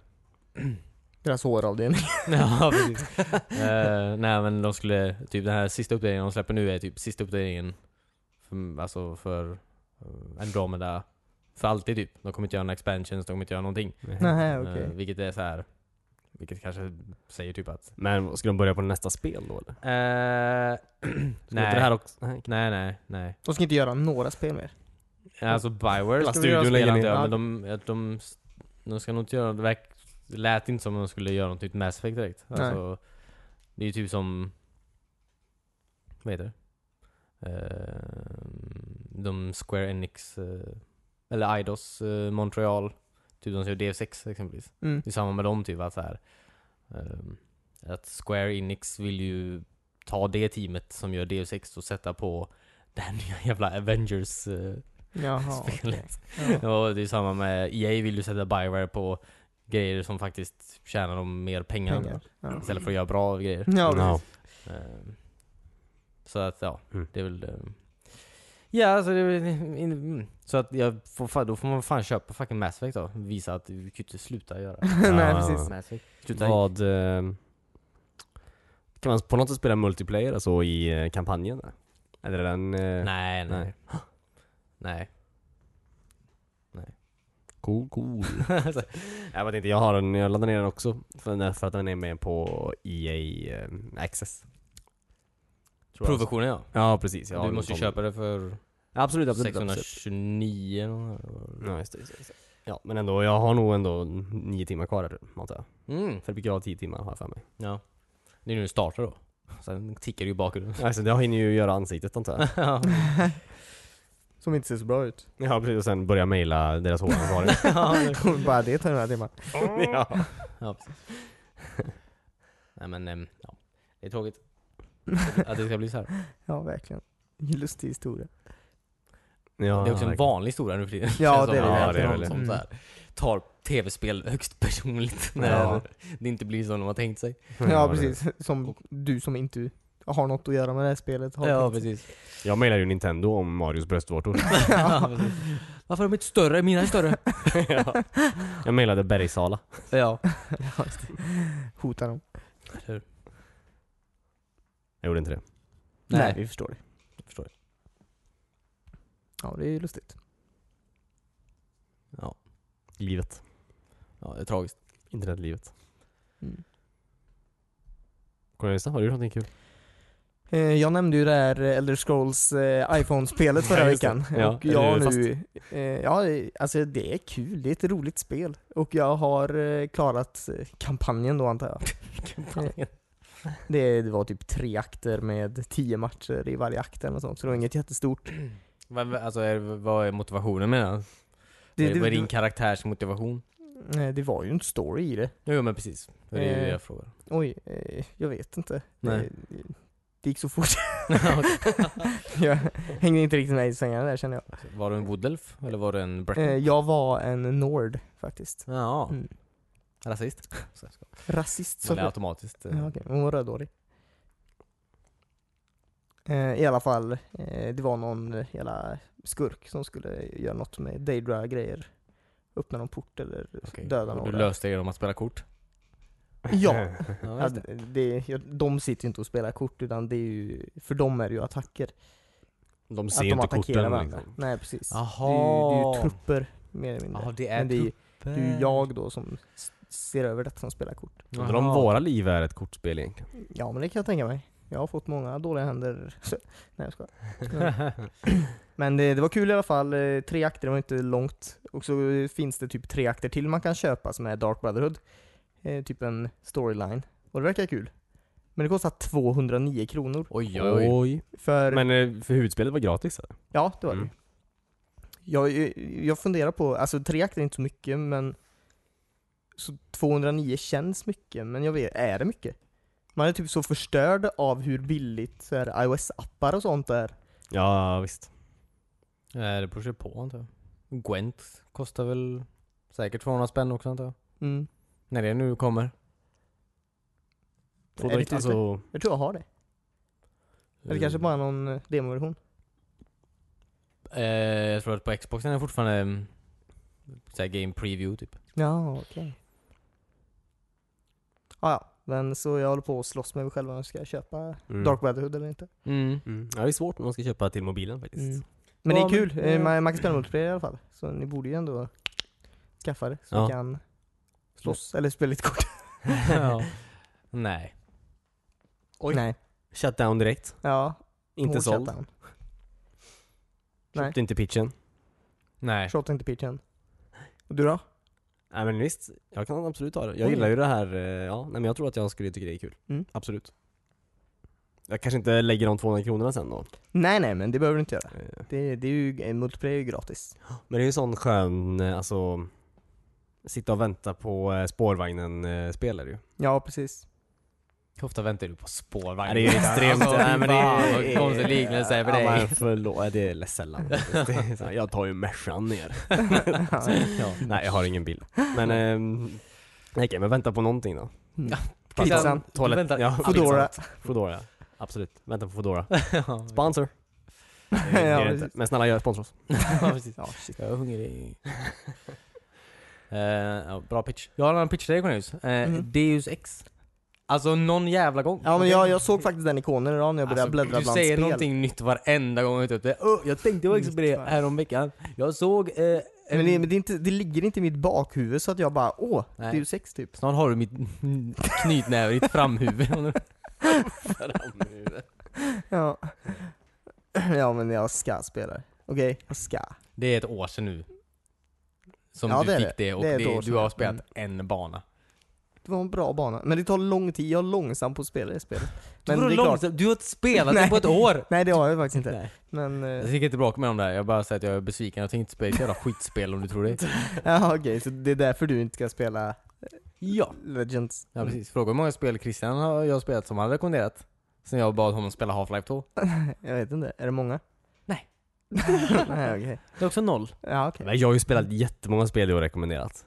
S1: Deras håravdelning.
S2: Ja, precis. Eh, nej men de skulle, typ den här sista uppdateringen de släpper nu är typ sista uppdateringen för, alltså för eh, Andromeda för alltid typ. De kommer inte göra några expansions, de kommer inte göra någonting.
S1: Nej, okej.
S2: Eh, vilket är så här. vilket kanske säger typ att...
S3: Men ska de börja på nästa spel då eller?
S2: Eh,
S3: Ska
S2: nej.
S3: inte Det här också?
S2: nej, nej, nej.
S1: De ska inte göra några spel mer.
S2: Alltså Bioware
S3: Hela
S2: ska väl göra
S3: studion lägger
S2: spel
S3: ner.
S2: ja, men de, att de, de ska nog inte göra, det verk- det lät inte som om de skulle göra något nytt Mass Effect direkt.
S1: Nej.
S2: Alltså, det är ju typ som, vad heter det? Ehm, de Square Enix, eh, eller Idos eh, Montreal, typ de som gör DF6 exempelvis.
S1: Mm.
S2: Det är samma med dem typ att så här, ehm, att Square Enix vill ju ta det teamet som gör DF6 och sätta på det här nya jävla Avengers eh,
S1: Jaha, okej.
S2: spelet.
S1: Ja.
S2: Och det är samma med EA vill ju sätta Bioware på grejer som faktiskt tjänar dem mer pengar,
S1: Pengar. Ja. Mm.
S2: istället för att göra bra grejer.
S1: Ja, precis.
S3: Ja.
S2: Ehm, Så att ja,
S3: Mm.
S2: det är väl... ehm, Ja, alltså det är väl... mm, Så att jag får, fan- då får man fan köpa fucking Mass Effect då. Visa att vi kan ju inte sluta göra
S1: Nej,
S3: Ja.
S1: precis.
S2: Mass Effect. Sluta
S3: Vad... eh, Kan man på något sätt spela multiplayer, alltså i eh, kampanjen? där? Eller är den... eh,
S2: Nej, nej.
S3: Nej.
S2: Nej.
S3: Cool, cool. Så, jag vet inte, jag har den, jag laddar ner den också. För, den- för att den är med på EA eh, Access. Tror jag.
S2: Provisionen ja.
S3: Ja, precis. Jag har
S2: du
S3: den
S2: måste ju
S3: på-
S2: köpa det för
S3: Absolut, absolut. absolut.
S2: 629 eller något där.
S3: Ja, just det, just det, just det. Ja, men ändå, jag har nog ändå nio timmar kvar där, antar jag.
S2: Mm.
S3: För det brukar jag ha tio timmar, har jag för mig.
S2: Ja. Det är nu det startar då. Sen tickar det ju bakgrunden.
S3: Alltså, jag hinner ju göra ansiktet, antar jag.
S2: ja.
S1: Som inte ser så bra ut.
S3: Ja, precis. Och sen börja mejla deras håransvariga.
S1: Bara det tar några timmar.
S3: ja.
S2: ja, precis. Nej men, ehm, ja. Det är tråkigt. Att det- Att det ska bli så här.
S1: Ja, verkligen. Lustig historia.
S3: ja.
S2: Det är också en
S3: verkligen.
S2: vanlig historia nu för tiden.
S1: Ja,
S2: Känns
S1: det är
S2: som
S1: det
S2: att
S3: verkligen. Ja,
S2: någon
S1: det är
S2: som
S1: det.
S2: så här, tar tv-spel högst personligt när
S3: Ja.
S2: det inte blir som de har tänkt sig.
S1: Ja, precis. Som du som inte har något att göra med det här spelet har tänkt.
S2: precis.
S3: Jag mejlar ju Nintendo om Marios bröstvårtor.
S2: ja, precis. Varför är de inte större? Mina är större.
S3: ja. Jag mejlade Bergsala.
S2: ja.
S1: Hotar dem.
S3: Jag gjorde inte det.
S2: Nej.
S1: vi förstår det.
S2: Jag förstår.
S1: Ja, det är ju lustigt.
S2: Ja.
S3: Livet.
S2: ja, det är tragiskt.
S3: Internetlivet.
S1: Mm.
S3: Cornelista, har du gjort någonting kul?
S1: Eh, Jag nämnde ju det här Elder Scrolls eh, iPhone-spelet förra
S3: Ja, just det.
S1: veckan.
S3: Ja,
S1: och jag har
S3: eh, fast-
S1: nu, eh, ja alltså det är kul, det är ett roligt spel. Och jag har eh, klarat eh, kampanjen då antar jag. Eh,
S2: Kampanjen.
S1: Det, det var typ tre akter med tio matcher i varje akt eller något sånt, så det var inget jättestort.
S2: Vad- vad- Alltså, är, vad är motivationen med den?
S1: Det,
S2: Vad är din
S1: det,
S2: karaktärs motivation?
S1: det, det var ju en story i det.
S2: Jo men precis, det är
S1: Eh.
S2: det jag frågar.
S1: Oj, eh, jag vet inte.
S2: Nej.
S1: Det, det gick så fort. jag hängde inte riktigt med i svängarna där känner jag.
S2: Alltså, Var du en Woodelf eller var du en Breton?
S1: Eh, jag var en Nord faktiskt.
S2: Ja,
S1: Mm.
S2: rasist. Så jag ska-
S1: Rasist
S2: Eller
S1: som
S2: automatiskt. eh,
S1: Ja, okej. Hon var rödhårig. Eh, I alla fall, eh, det var någon eh, jävla skurk som skulle göra något med Daedra-grejer. Öppna någon port eller
S2: okej.
S1: döda
S2: Och Du
S1: någon.
S2: löste det genom att spela kort?
S1: Ja!
S2: Ja,
S1: ja det, ja, de sitter ju inte och spelar kort utan det är ju, för dem är det ju attacker.
S3: De
S1: att
S3: ser
S1: de
S3: inte
S1: attackerar
S3: korten.
S1: varandra.
S3: Liksom.
S1: Nej precis. Det är, ju, det är
S2: Jaha!
S1: ju trupper mer eller mindre.
S2: Ja, det är
S1: Men det är, ju- det är ju
S2: trupper.
S1: jag då som s- ser över detta som spelar kort.
S3: Undrar om
S2: Jaha.
S3: våra liv är ett kortspel egentligen.
S1: Ja men det kan jag tänka mig. Jag har fått många dåliga händer. Nej jag skojar. Men det, det var kul i alla fall. Eh, Tre akter, det var inte långt. Och så eh, finns det typ tre akter till man kan köpa som är Dark Brotherhood. Eh, typ en storyline. Och det verkar kul. Men det kostar 209 kronor.
S2: Oj, oj, oj.
S1: För,
S3: Men eh, för huvudspelet var gratis eller?
S1: ja det var det
S3: Mm.
S1: jag, jag- jag funderar på, alltså tre akter är inte så mycket men så 209 känns mycket, men jag vet, är det mycket? Man är typ så förstörd av hur billigt så här, iOS-appar och sånt är.
S3: Ja visst.
S2: Eh, Det beror sig på antar jag. Gwent kostar väl säkert 200 spänn också antar jag.
S1: Mm.
S2: När det nu kommer.
S1: Är det typ tusen?
S3: alltså,
S1: Jag tror jag har det. Eller kanske bara någon eh, demoversion.
S2: Eh, jag tror att på Xboxen är det fortfarande mm, såhär game preview typ.
S1: Ja, okej. Ah, ja, men så jag håller på att slåss med mig själv om jag ska köpa
S3: Mm.
S1: Dark Brotherhood eller inte.
S2: Mm.
S3: Mm. Ja det är svårt när man ska köpa till mobilen faktiskt.
S1: Mm. Men
S2: Ja,
S1: det är kul,
S2: men-
S1: Eh, man, man kan spela multiplayer i alla fall. Så ni borde ju ändå skaffa det så
S2: Ja.
S1: vi kan slåss, eller spela lite kort.
S2: ja. Nej.
S3: Oj.
S1: Nej.
S3: Shut down direkt.
S1: Ja,
S3: Inte
S1: hård
S3: såld.
S1: shutdown. Nej.
S3: Köpte inte pitchen.
S2: Nej.
S1: Shot inte pitchen. Och du då?
S3: Nej men visst, jag kan absolut ta det. Jag
S1: Oj.
S3: gillar ju det här, eh, ja, nej men jag tror att jag skulle tycka det är kul.
S1: Mm.
S3: Absolut. Jag kanske inte lägger de 200 kronorna sen då.
S1: Nej nej men det behöver du inte göra.
S3: Eh,
S1: Det, det är ju, eh, multiplayer är ju gratis.
S3: Men det är ju en sån skön, eh, alltså, sitta och vänta på eh, spårvagnen eh, spel är det ju.
S1: Ja precis.
S2: Hur ofta väntar du på spårvagn?
S3: Ja,
S2: Alltså,
S3: det är ju extremt. Nej, men det är-
S2: fan, vad konstig liknelse för
S3: Ja, men
S2: dig.
S3: förlåt, det är sällan. Det är så här, jag tar ju Mercan ner.
S2: Ja.
S3: Nej jag har ingen bild. Men, ehm, nej, okej men vänta på någonting då.
S2: Mm.
S1: Pizzan,
S3: Toalett,
S2: Vänta,
S3: ja,
S1: Foodora.
S3: pizzan. Foodora, absolut. Vänta på Foodora.
S2: ja,
S3: Sponsor. Det är
S1: Ja,
S3: det
S1: precis.
S3: inte. Men snälla gör sponsor oss.
S2: ja, precis.
S1: Ja, shit.
S2: Jag är hungrig. Eh, ja, bra pitch. Jag har en annan pitch till dig Cornelius. Eh,
S1: Mhm.
S2: Deus Ex. Alltså någon jävla gång.
S1: Ja men jag, jag såg faktiskt den ikonen idag när jag började
S2: Alltså,
S1: bläddra
S2: Du
S1: bland
S2: säger
S1: spel.
S2: någonting nytt varenda gång jag tar upp det. Oh, jag tänkte faktiskt på det
S1: Nytt, va?
S2: häromveckan. Jag såg... Eh, en...
S1: Men, det, men det, är inte, det ligger inte i mitt bakhuvud så att jag bara åh,
S2: Nej.
S1: det är ju sex typ.
S2: Snart har du mitt knytnäve i ditt framhuvud.
S1: Ja. ja men jag ska spela. Okej, jag ska.
S2: det är ett år sedan nu. Som
S1: Ja,
S2: du
S1: det är
S2: fick
S1: det.
S2: det, och
S1: Det är
S2: det
S1: ett år
S2: du
S1: sedan. Mm.
S2: har spelat en bana.
S1: Det var en bra bana. Men det tar lång tid, jag är långsam på att spela det spelet. Men
S2: Vadå
S1: det är klart.
S2: långsamt? Du har inte spelat det
S1: Nej.
S2: på ett år!
S1: Nej det har jag faktiskt inte.
S2: Nej.
S1: Men,
S2: Jag
S1: eh,
S2: tycker inte bråka med om det här. jag bara säger att jag är besviken. Jag tänker inte spela ett jävla skitspel om du tror det.
S1: ja okej, så det är därför du inte ska spela eh,
S2: Ja.
S1: Legends?
S2: Ja precis. Fråga hur många spel Christian har jag spelat som han rekommenderat. Sen jag bad honom spela Half-Life 2.
S1: Jag vet inte, är det många?
S2: Nej.
S1: Nej okej.
S2: Det är också noll.
S1: Ja okej.
S3: Men jag har ju spelat jättemånga spel jag har rekommenderat.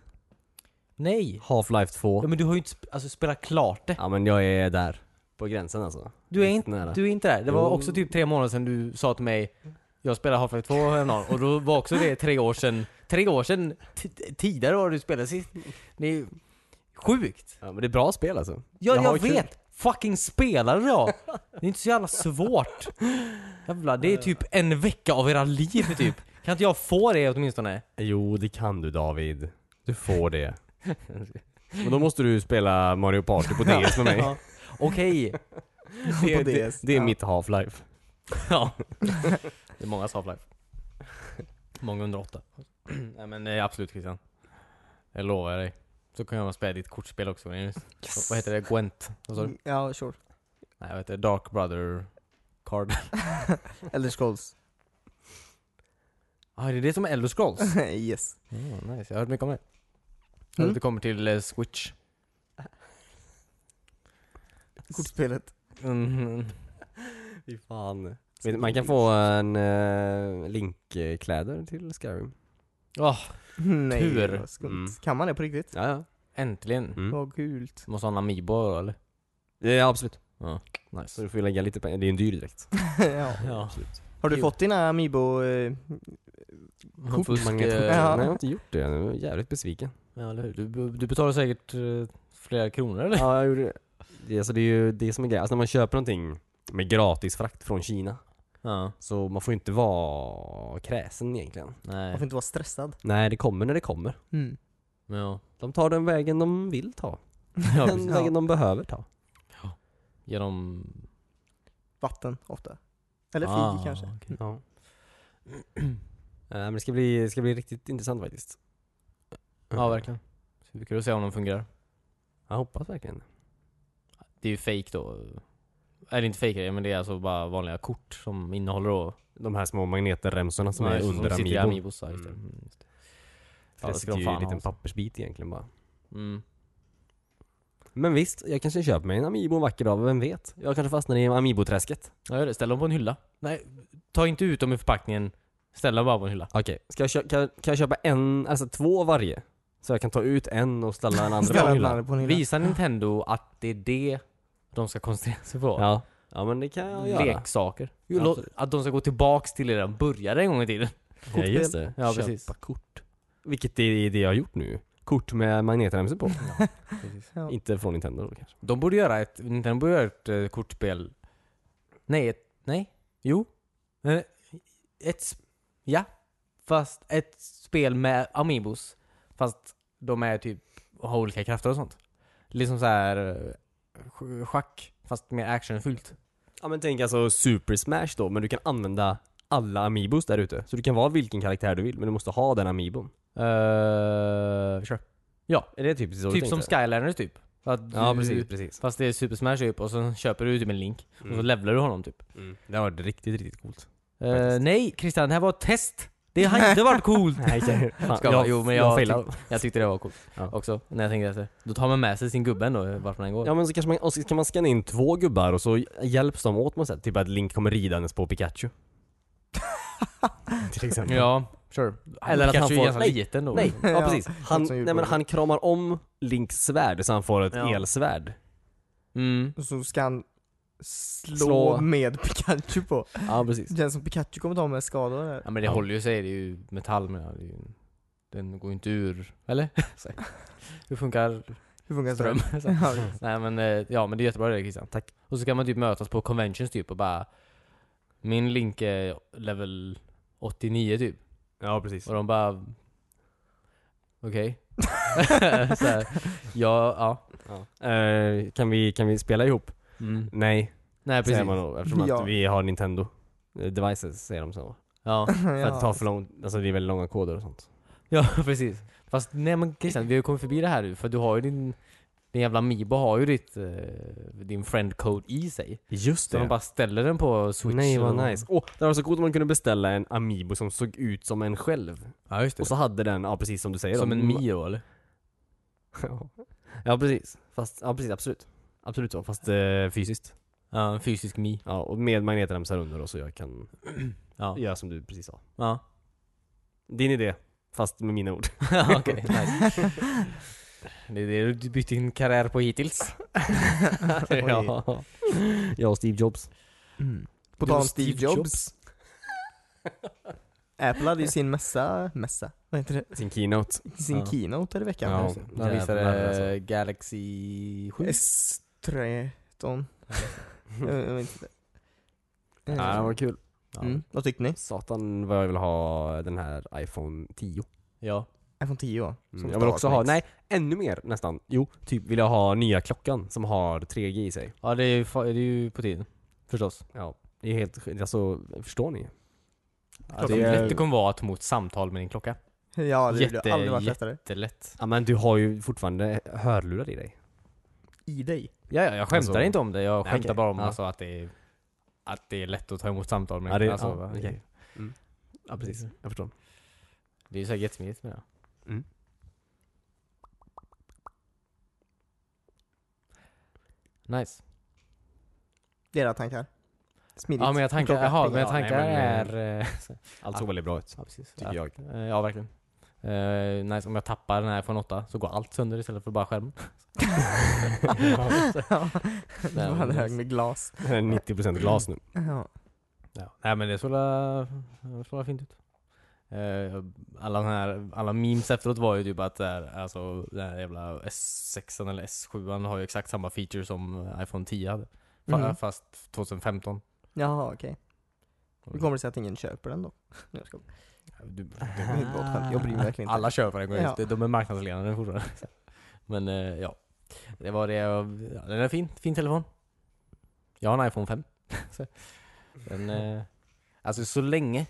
S2: Nej!
S3: Half-Life 2.
S2: Ja, men du har ju inte sp- alltså, spelat klart det.
S3: Ja men jag är där. På gränsen alltså.
S2: Du är
S3: Riktigt
S2: inte,
S3: nära.
S2: du är inte där. Det var
S3: Jo.
S2: också typ tre månader sedan du sa till mig jag spelar Half-Life 2 häromdagen och då var också det tre år sedan. Tre år sedan t- t- tidigare var du spelade sist. Det är ju sjukt.
S3: Ja men det är bra spel alltså.
S2: Ja,
S3: Jag
S2: jag,
S3: har kul.
S2: vet! Fucking spelare då! Det är inte så jävla svårt. Jävlar, det är typ en vecka av era liv typ. Kan inte jag få det åtminstone?
S3: Jo det kan du David. Du får det. Men då måste du spela Mario Party på DS med mig.
S2: Ja. Okej.
S3: Det är,
S1: På
S3: det,
S1: DS,
S3: det är
S1: ja.
S3: mitt Half-Life.
S2: ja. Det är många Half-Life. Många under åtta. Nej men eh, absolut Christian. Jag lovar dig. Så kan jag spela ditt kortspel också. Magnus. Vad- Vad heter det? Gwent? Vad sa du?
S1: Mm, Ja, sure.
S2: Nej vad heter det? Dark Brother Card.
S1: Elder Scrolls.
S2: ah, det är det som är Elder Scrolls?
S1: yes.
S2: Ja, nice. Jag har hört mycket om det. Jag
S1: Mm.
S2: mm. kommer till eh, Switch.
S1: Kortspelet. Mm-hmm.
S2: Mm.
S3: Fy fan. Vet- Man kan få en eh, Link-kläder till Skyrim.
S2: Åh,
S1: Nej,
S2: Tur.
S1: vad skumt.
S3: Mm.
S1: Kan man det på riktigt?
S3: Ja, ja.
S2: äntligen.
S3: Mm.
S1: Vad kult.
S2: Måste ha en Amiibo då, eller?
S3: ja absolut. Så
S2: Nice.
S3: du får ju lägga lite pengar. Det är en dyr direkt.
S1: ja.
S2: Ja.
S1: Har du
S2: Jo.
S1: fått dina Amiibo? eh,
S2: Man fusk,
S3: Magnetkort.
S2: eh,
S1: Ja.
S3: Nej, jag har inte gjort det. Jag är jävligt besviken.
S2: Ja, eller hur? Du, du betalar säkert eh, flera kronor eller?
S3: Ja, jag gjorde det. det. Alltså, det är ju det som är grejen. Alltså, när man köper någonting med gratisfrakt från Kina,
S2: Ja.
S3: så man får ju inte vara kräsen egentligen.
S1: Man
S2: Nej.
S1: får inte vara stressad.
S3: Nej, det kommer när det kommer.
S1: Mm.
S2: Men ja.
S3: De tar den vägen de vill ta.
S2: ja
S3: Den
S2: precis.
S3: vägen de behöver ta.
S2: Genom...
S1: Vatten ofta. Eller
S2: Ah,
S1: fig kanske.
S2: okej.
S1: Mm.
S3: Ja. Eh, men det ska, bli, det ska bli riktigt intressant faktiskt.
S2: Ja, verkligen. Så det är kul att se om de fungerar.
S3: Jag hoppas verkligen
S2: Det är ju fake då. Eller inte fake grejer, men det är alltså bara vanliga kort som innehåller då...
S3: De här små magnetremsorna som är
S2: just det,
S3: under
S2: sitter i
S3: amibon.
S2: Amiibos, ja, just det.
S3: Mm.
S2: Mm, just det.
S3: Ja,
S2: det
S3: det sitter
S2: ska de
S3: ju i
S2: fan
S3: en
S2: ha
S3: liten
S2: alltså.
S3: pappersbit egentligen bara.
S2: Mm.
S3: Men visst, jag kanske köper mig en amiibo en vacker dag, vem vet? Jag kanske fastnar i amiibo-träsket.
S2: Ja, gör det. Ställ dem på en hylla. Nej, ta inte ut dem ur förpackningen. Ställ dem bara på en hylla.
S3: Okej, ska jag kö- kan, jag- kan jag köpa en, alltså två av varje? Så jag kan ta ut en och ställa den andra på
S1: Ställa
S3: en
S1: den
S3: hylla?
S1: andra på en hylla.
S2: Visa Nintendo att det är det de ska koncentrera sig på.
S3: Ja. ja, men det kan jag göra.
S2: Leksaker.
S3: Jo,
S2: Låt-
S3: absolut.
S2: Att de ska gå tillbaks till det de började en gång i tiden.
S3: Ja, just det.
S2: Ja, precis.
S3: Köpa kort. Vilket är det jag har gjort nu. Kort med magnetremsor på.
S1: Ja.
S3: Inte från Nintendo då kanske.
S2: De borde göra ett, Nintendo borde göra ett eh, kortspel. Nej, ett, nej, jo. Eh, ett, sp- ja. Fast ett spel med Amiibos. Fast de är typ, har olika krafter och sånt. Liksom så här eh, sj- schack, fast mer actionfyllt.
S3: Ja men tänk alltså Super Smash då, men du kan använda alla amiibos där ute. Så du kan vara vilken karaktär du vill, men du måste ha den amiibon.
S2: Uh, sure.
S3: Är det typ så du
S2: Typ som
S3: tänkte?
S2: Skylanders typ. Att
S3: Ja
S2: du-
S3: precis, precis.
S2: Fast det är Super Smash typ och sen köper du typ en link och så
S3: Mm.
S2: levlar du honom typ.
S3: Mm. Det har varit riktigt, riktigt coolt.
S2: Eh,
S3: Faktiskt.
S2: nej Christian, det här var ett test! Det har inte varit coolt!
S3: Nej, fan,
S2: Ska jag- jo, men jag typ-
S3: failar.
S2: Jag tyckte det var coolt
S3: Ja.
S2: också, när jag tänkte efter. Då tar man med sig sin gubbe ändå vart man än går.
S3: Ja men så kanske man, och så kan man scanna in två gubbar och så hjälps de åt på något sätt. Typ att Link kommer ridandes på Pikachu. Till exempel.
S2: Ja, sure.
S3: Eller att han
S2: Pikachu är
S3: får-
S2: ganska
S3: nej,
S2: liten då.
S3: Nej, ja,
S1: Ja,
S3: precis. Han,
S1: som
S3: nej,
S1: gjorde
S3: men
S1: det.
S3: han kramar om Links svärd så han får ett
S2: Ja.
S3: elsvärd.
S2: Mm.
S1: Och så ska han slå,
S3: Slå.
S1: med Pikachu på.
S3: Ja precis.
S1: Det känns som Pikachu kommer ta med skador här.
S2: Ja men det
S3: Ja.
S2: håller ju sig, det är ju metall men ja, det är ju, den går ju inte ur. Eller? Så här. Hur funkar
S1: Hur funkar
S2: ström?
S1: det?
S2: Så här.
S1: Ja, visst.
S2: nej men, eh, ja men det är jättebra det Christian.
S3: Tack.
S2: Och så kan man typ mötas på conventions typ och bara Min link är level 89 typ.
S3: Ja precis.
S2: Och de bara... Okej. Så här, ja, ja.
S3: Eh, kan, vi, kan vi spela ihop?
S2: Mm.
S3: Nej,
S2: Nej
S3: säger
S2: precis.
S3: man då eftersom
S1: Ja.
S3: att vi har Nintendo eh, devices säger de så.
S2: Ja.
S3: För att det tar för lång, alltså det är väldigt långa koder och sånt.
S2: ja, precis. Fast nej men Christian, vi har ju kommit förbi det här nu. För du har ju din... Din jävla Mibo har ju ditt, eh, din friend code i sig.
S3: Just
S2: Så de bara ställer den på switch.
S3: Nej vad
S2: och-
S3: nice. Åh, det var så coolt om man kunde beställa en Amiibo som såg ut som en själv.
S2: Ja just det.
S3: Och så hade den, ja precis som du säger
S2: Typ. Som
S3: då,
S2: en Mio eller?
S3: Ja precis. Fast, ja precis absolut. Absolut så, fast eh, fysiskt.
S2: Ja, en fysisk Mi.
S3: Ja, och med magnetremsar under då så jag kan
S2: Ja.
S3: göra som du precis sa.
S2: Ja.
S3: Din idé, fast med mina ord.
S2: Okej, nice. Det är det du bytt din karriär på hittills.
S3: ja. Jag och Steve Jobs.
S1: Mm. På
S2: Du
S1: tal
S2: och
S1: om Steve,
S2: Steve
S1: Jobs.
S2: Jobs.
S1: Apple hade ju sin mässa, mässa, vad heter
S3: Sin keynote.
S1: det? Sin
S2: Ja.
S1: keynote här i veckan.
S3: Ja,
S2: De visade
S3: jävlar, alltså.
S2: Galaxy 7.
S1: S13. jag, jag vet inte.
S3: Ja, det var kul.
S2: Ja.
S1: Mm. Vad tyckte ni?
S3: Satan vad jag vill ha den här iPhone 10.
S2: ja.
S1: iPhone 10 va?
S3: Mm. Jag vill också ha,
S1: startlinks.
S3: nej, ännu mer nästan. Jo, typ vill jag ha nya klockan som har 3G i sig.
S2: Ja, det är ju, fa- det är ju på tiden. Förstås.
S3: Ja, det är helt, alltså, förstår ni?
S2: Ja, Alltså, det, är... det kommer vara att ta emot samtal med din klocka.
S1: Ja, det, det
S2: Jätte-
S1: har aldrig varit
S2: jätte-
S1: lättare.
S2: Det är lätt.
S3: Ja men du har ju fortfarande hörlurar i dig.
S1: I dig.
S2: Ja, ja jag skämtar
S3: Alltså-
S2: inte om det. Jag
S3: Nej,
S2: skämtar
S3: okej.
S2: bara om
S3: Ja.
S2: alltså, att, det är, att det är lätt att ta emot samtal med
S3: Ja, det-
S2: alltså,
S3: ja,
S2: va?
S3: okej. Mm.
S2: Ja, precis.
S3: Jag förstår.
S2: Det är ju säkert jättesmidigt med det.
S3: Mm.
S2: Nice.
S1: Era tankar. Smidigt.
S2: Ja, mina tankar,
S1: Klocka
S2: jaha,
S1: plingar.
S2: mina
S3: Ja, nej,
S2: tankar
S3: men,
S2: är... eh,
S3: Allt
S2: Ja.
S3: såg väldigt bra ut.
S2: ja, precis.
S3: Tycker
S2: Att-
S3: jag.
S2: eh, Ja, verkligen. Eh, nice, om jag tappar den här från 8 så går allt sönder istället för bara skärmen.
S1: Ja. det var en
S2: men-
S1: hög med glas.
S3: 90% glas nu.
S1: Ja.
S2: Ja. Nej men det såg la- det såg la fint ut. Eh, alla, den här, alla memes efteråt var ju typ att det här, alltså, den här jävla S6 eller S7 har ju exakt samma feature som iPhone 10 hade. Fa-
S1: Mhm.
S2: Fast 2015.
S1: Jaha okej.
S2: Mm.
S1: Hur kommer det sig att ingen köper den då? Nu ska jag-
S2: Du,
S1: Det är ett gott skämt, jag bryr mig verkligen inte.
S2: alla köper den,
S1: Ja.
S2: ja. de är marknadsledande fortfarande. Men eh, ja, det var det jag, ja, den är fin, fin telefon. Jag har en iPhone 5. Så, den, eh, alltså så länge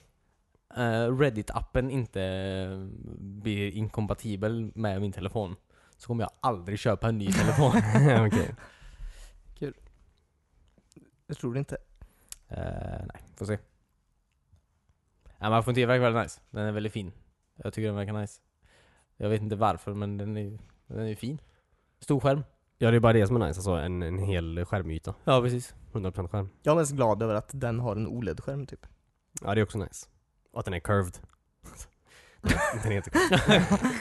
S2: eh, Reddit-appen inte eh, blir inkompatibel med min telefon så kommer jag aldrig köpa en ny telefon.
S3: Okej.
S1: Jag tror det inte.
S2: Eh, nej, får se. Nej, men iPhone 10 verkar väldigt nice. Den är väldigt fin. Jag tycker den verkar nice. Jag vet inte varför men den är ju den är ju fin. Stor skärm.
S3: Ja det är bara det som är nice, alltså en, en hel skärmyta.
S2: Ja precis.
S3: 100% skärm.
S1: Jag är mest glad över att den har en OLED-skärm typ.
S3: Ja det är också nice. Och att den är curved. den är inte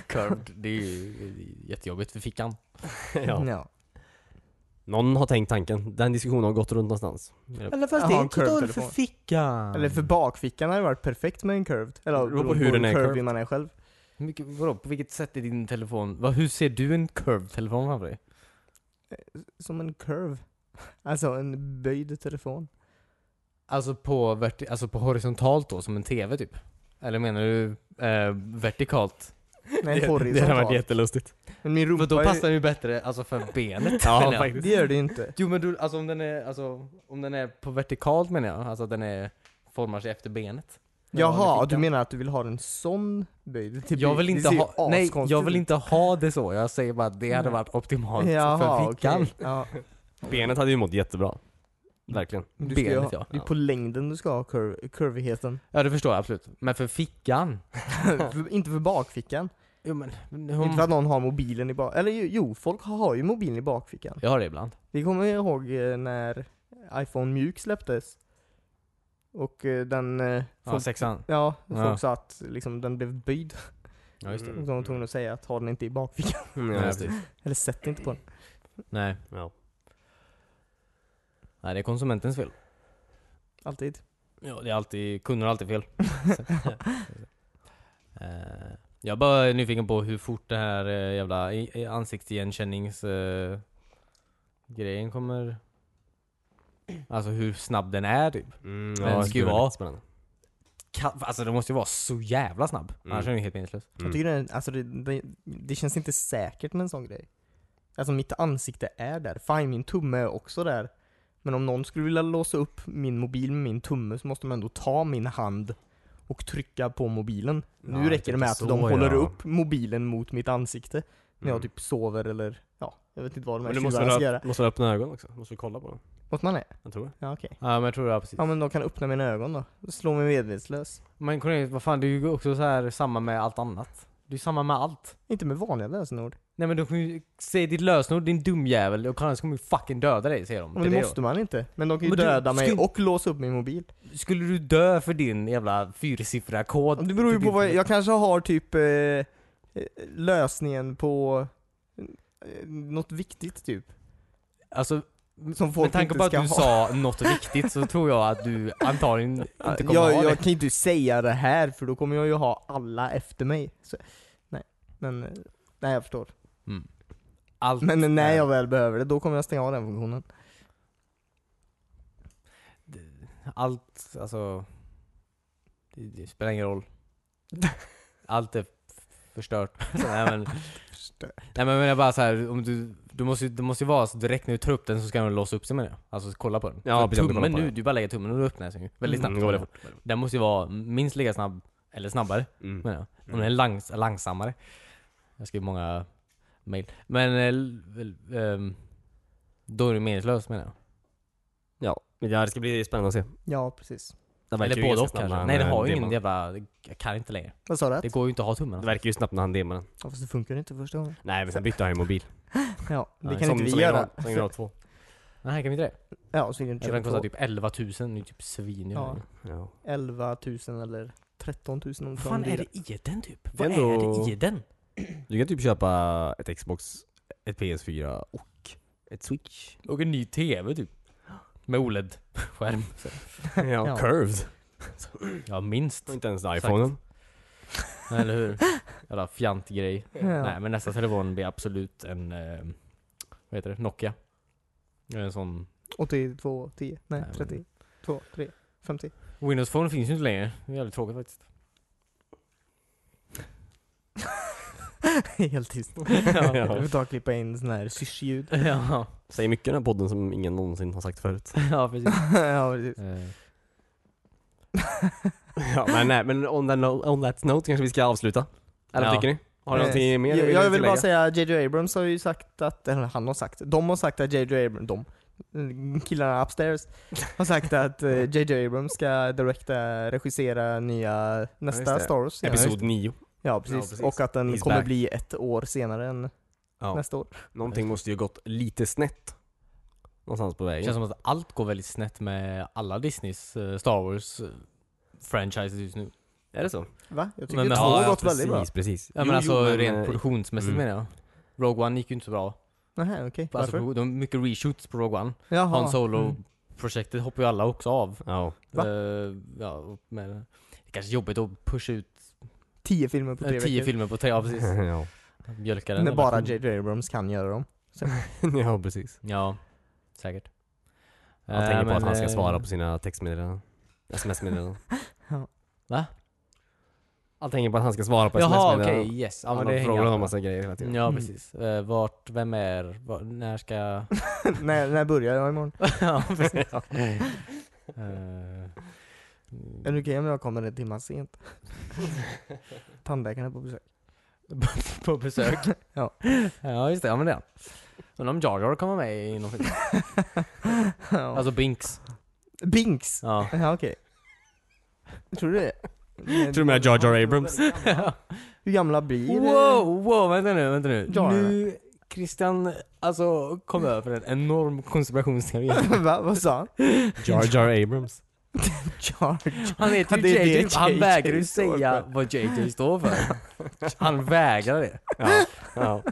S2: Curved. Det är ju jättejobbigt för fickan.
S3: ja.
S1: Ja.
S3: Någon har tänkt tanken. Den diskussionen har gått runt någonstans.
S2: Eller
S1: fast det är inte dåligt för
S2: fickan.
S1: Eller för bakfickan hade det varit perfekt med en curved. Eller
S3: Det beror på
S1: beroende
S3: hur den är
S1: curvy
S3: curved.
S1: man är själv.
S2: Hur mycket, vadå, på vilket sätt är din telefon? Va, hur ser du en curved telefon framför dig?
S1: Som en curve. Alltså en böjd telefon.
S2: Alltså på, verti- alltså på horisontalt då, som en TV typ? Eller menar du eh, vertikalt?
S1: Nej, en
S3: Det hade varit
S1: horisontal.
S3: jättelustigt.
S1: Men min rumpa
S2: Men då
S1: är-
S2: passar den ju bättre alltså för benet.
S3: Ja
S2: menar jag.
S3: faktiskt.
S1: Det gör det ju inte.
S2: Jo men du, alltså om den är, alltså, om den är på vertikalt menar jag, alltså att den är, formar sig efter benet. Den vanliga
S1: Jaha,
S2: fickan.
S1: du menar att du vill ha en sån böjd? Typ,
S2: jag vill
S1: det
S2: inte
S1: ser ju
S2: ha, nej
S1: askonstigt
S2: jag vill
S1: ut.
S2: inte ha det så, jag säger bara att det hade
S1: Nej.
S2: varit optimalt
S1: Jaha,
S2: för fickan.
S1: okej. Ja.
S3: Benet hade ju mått
S1: Mm.
S3: jättebra. Verkligen.
S1: Men Du ska ju
S2: Benet,
S1: ha,
S2: ja.
S1: Det är på längden du ska ha curv, curvigheten.
S2: Ja det förstår jag absolut, men för fickan?
S1: För- inte för bakfickan.
S2: Jo men, hon,
S1: Inte för att någon har mobilen i bak... Eller ju- jo, folk har ju mobilen i bakfickan.
S2: jag har det ibland.
S1: Vi kommer ihåg eh, när iPhone Mjuk släpptes. Och eh, den... eh,
S2: Ja,
S1: folk-
S2: sexan.
S1: Ja, folk
S2: Ja.
S1: sa att liksom, den blev böjd.
S2: Ja just det.
S1: Mm. De var tvungna att säga att ha den inte i bakfickan.
S3: Mm,
S2: Nej,
S3: ja, just det.
S2: precis.
S1: Eller sätt inte på den.
S2: Nej.
S3: Ja.
S2: nej, det är konsumentens fel.
S1: Alltid.
S2: Ja, det är alltid, kunder har alltid fel. Så- Eh, jag är bara nyfiken på hur fort det här eh, jävla i- i- ansiktsigenkänningsgrejen eh, kommer... Alltså hur snabb den är typ.
S3: Mm,
S2: Men det ska ju vara- Mm.
S3: spännande.
S2: Ka- Alltså den måste ju vara så jävla snabb.
S3: Mm.
S2: Annars är den ju helt meningslös.
S1: Jag tycker den, alltså det, det, det känns inte säkert med en sån grej. Alltså mitt ansikte är där. Fine, min tumme är också där. Men om någon skulle vilja låsa upp min mobil med min tumme så måste de ändå ta min hand och trycka på mobilen.
S3: Ja,
S1: nu
S3: jag
S1: räcker det med att
S3: tänkte
S1: de
S3: så,
S1: håller
S3: ja.
S1: upp mobilen mot mitt ansikte när jag
S3: Mm.
S1: typ sover eller ja, jag vet inte vad de här
S3: Men du måste
S1: tjuvarna ska
S3: väl
S1: göra.
S3: öpp- måste väl öppna ögonen också? Måste du kolla på dem?
S1: Måste man det?
S3: Jag tror det.
S1: Ja okej.
S2: Ja men jag tror det, ja, precis.
S1: Ja men de kan öppna mina ögon då. Slå mig medvetslös.
S2: Men Cornelius, vad fan det är ju också så här samma med allt annat. Det är ju samma med allt.
S1: Inte med vanliga lösenord.
S2: Nej men de kommer ju säga ditt lösenord din dumjävel och annars kommer ju fucking döda dig säger de.
S1: Men
S2: till
S1: det,
S2: dig då.
S1: måste man inte. Men de kan ju
S2: Men du-
S1: döda mig
S2: skulle-
S1: och låsa upp min mobil.
S2: Skulle du dö för din jävla fyrsiffriga
S1: Ja,
S2: kod?
S1: Det beror ju
S2: till
S1: på
S2: din-
S1: vad jag, jag kanske har typ eh, eh, lösningen på eh, något viktigt typ.
S2: Alltså,
S1: Som folk
S2: med tanke
S1: inte
S2: på att
S1: ska
S2: du
S1: ha.
S2: sa något viktigt så tror jag att du antagligen inte kommer
S1: jag,
S2: ha
S1: jag
S2: det.
S1: kan ju inte säga det här för då kommer jag ju ha alla efter mig. Så, nej, men eh, nej jag förstår.
S2: Mm. Allt
S1: Men eh, när
S2: är-
S1: jag väl behöver det, då kommer jag stänga av den funktionen.
S2: Allt, alltså... Det, det spelar ingen roll. Allt är f- förstört. Så, nej, men,
S1: Förstör.
S2: nej men jag menar bara så här, om du, du måste, ju- det måste ju vara så direkt när du tar upp den så ska den låsa upp sig med det. Alltså kolla på den.
S3: Ja,
S2: För
S3: precis, kolla
S2: tummen
S3: på
S2: nu,
S3: den.
S2: du bara lägger tummen och då öppnar den sig ju. Väldigt snabbt.
S3: Mm,
S2: går
S3: går
S2: det
S3: det
S2: fort. Den måste ju vara minst lika snabb, eller snabbare
S3: Mm.
S2: menar jag. Om den är langs, långsammare. Jag skriver många mail. Men eh, l- l- ehm, då är det meningslöst menar jag.
S3: Ja, men det här ska bli spännande att se.
S1: Ja, precis.
S3: Den verkar
S2: Eller
S3: ju
S2: både och
S3: ganska snabb,
S2: kanske.
S3: den
S2: Nej det
S3: här
S2: har ju ingen
S3: demon.
S2: jävla... Jag kan inte längre.
S1: Vad sa du? Att?
S2: Det går ju inte att ha tummen.
S3: Det
S2: alltså.
S3: verkar ju snabbt när han demar den.
S1: Ja, fast det funkar inte första gången.
S3: Nej men sen bytte han ju mobil.
S1: Ja, det
S2: Nej,
S1: kan
S3: som,
S1: inte vi
S3: som
S1: göra.
S3: Grad, som grad 2.
S2: Nej kan vi inte det?
S1: Ja, så kan vi
S2: Eller den
S1: inte
S2: kostar
S1: köpa
S2: typ 11 000. Det är ju typ svin.
S1: Ja.
S2: Ja.
S1: 11 000 eller 13 000 om du tar
S2: Vad
S1: en
S2: fan är
S1: bil.
S2: det i den typ?
S3: Det är
S2: Vad
S3: ändå-
S2: är det i den?
S3: Du kan typ köpa ett Xbox, ett PS4 och ett Switch.
S2: Och en ny TV typ. Med E OLED-skärm. Så.
S3: ja, curved.
S2: Ja minst.
S3: Och inte ens
S2: Exakt.
S3: iPhonen.
S2: Eller hur? Jävla fjantgrej.
S1: Ja.
S2: Nej men nästa telefon blir absolut en, eh, vad heter det, Nokia. Eller En sån,
S1: 82, 10, nej,
S2: Nej, men-
S1: 30, 2, 3, 50.
S2: Windows Phone finns ju inte längre. Det är jävligt tråkigt faktiskt.
S1: Helt tyst.
S2: ja.
S1: Du får ta och klippa in sån här syrsljud.
S2: ja.
S3: Säger mycket i den här podden som ingen någonsin har sagt förut.
S2: ja, precis.
S1: ja, precis.
S2: Eh,
S3: ja, men nej, men on that, no- on that note kanske vi ska avsluta. Eller
S2: Ja.
S3: vad tycker ni? Har ni
S1: Eh,
S3: någonting mer? ni
S1: Jag, jag vill
S3: tillägga?
S1: bara säga, JJ Abrams har ju sagt att, eller han har sagt, de har sagt att JJ Abrams, de, mm, killarna upstairs, har sagt att eh, JJ Abrams ska direkta, regissera nya, nästa
S3: det.
S1: Star Wars.
S3: Episod 9.
S1: Ja precis.
S3: Ja, precis.
S1: och att den
S3: He's
S1: kommer
S3: back.
S1: bli ett år senare än
S3: Ja.
S1: nästa år.
S3: Någonting måste ju gått lite snett. Någonstans på
S2: det
S3: vägen.
S2: känns som att allt går väldigt snett med alla Disneys eh, Star Wars eh, franchises just nu.
S3: Är det så?
S1: Va? Jag tycker men,
S2: Men- men-
S1: två
S2: ja,
S1: har
S2: ja,
S1: gått väldigt bra.
S3: Precis, precis.
S2: Ja men alltså rent
S3: eh,
S2: produktionsmässigt
S3: mm.
S2: menar jag. Rogue One gick ju inte så bra.
S1: Nähä, okej.
S2: Alltså,
S1: Varför?
S2: pro- de mycket reshoots på Rogue One.
S1: Jaha.
S2: Han
S1: Mm.
S2: Solo-projektet hoppar ju alla också av.
S3: Ja.
S1: Va?
S2: Eh, ja, och med, det är kanske är jobbigt att pusha ut
S1: Tio filmer på
S2: Eh,
S1: tre
S2: Tio
S1: veckor.
S2: filmer på tre, ja precis.
S3: ja.
S2: Mjölka den.
S1: När
S2: där
S1: bara
S2: versionen.
S1: JJ Abrams kan göra dem.
S3: ja, precis.
S2: Ja, säkert.
S3: Jag
S2: Eh,
S3: tänker på
S2: men,
S3: att han ska
S2: eh,
S3: svara på sina textmeddelanden. Sms-meddelanden.
S1: Ja.
S2: Va?
S3: Jag tänker på att han ska svara på
S2: Jaha okej,
S3: sms-meddelanden.
S2: yes. Ja,
S3: Han
S2: men
S3: har
S2: det hänger
S3: frågat om
S2: jag
S3: massa grejer hela
S2: med.
S3: tiden.
S2: Ja
S1: Mm.
S2: precis. Eh, vart, vem är, var, när ska...
S1: när, när börjar jag imorgon?
S2: ja precis. Eh, mm.
S1: Är det okej om jag kommer en timma sent? Tandläkaren är på besök.
S2: på besök.
S1: Ja.
S2: ja just det, ja men det är han. Undrar om Jar Jar kommer med i någon film?
S1: Ja.
S2: Alltså Binks.
S1: Binks!
S2: Ja.
S1: Ja, okej. Tror du det? Tror
S3: du med Jar Jar Abrams?
S1: Hur gamla blir
S2: Wow, wow, vänta nu, vänta nu.
S1: Jar Jar.
S2: Nu, Christian, alltså kom över en enorm konspirationsteori.
S1: Va? Vad sa han?
S3: Jar Jar Abrams.
S1: Jar Jar.
S2: Han heter
S1: Det
S2: ju
S1: är
S2: JJ,
S1: det
S2: han
S1: JJ
S2: vägrar ju
S1: står
S2: säga
S1: för.
S2: vad JJ står för. Han vägrar det.
S3: Ja. ja.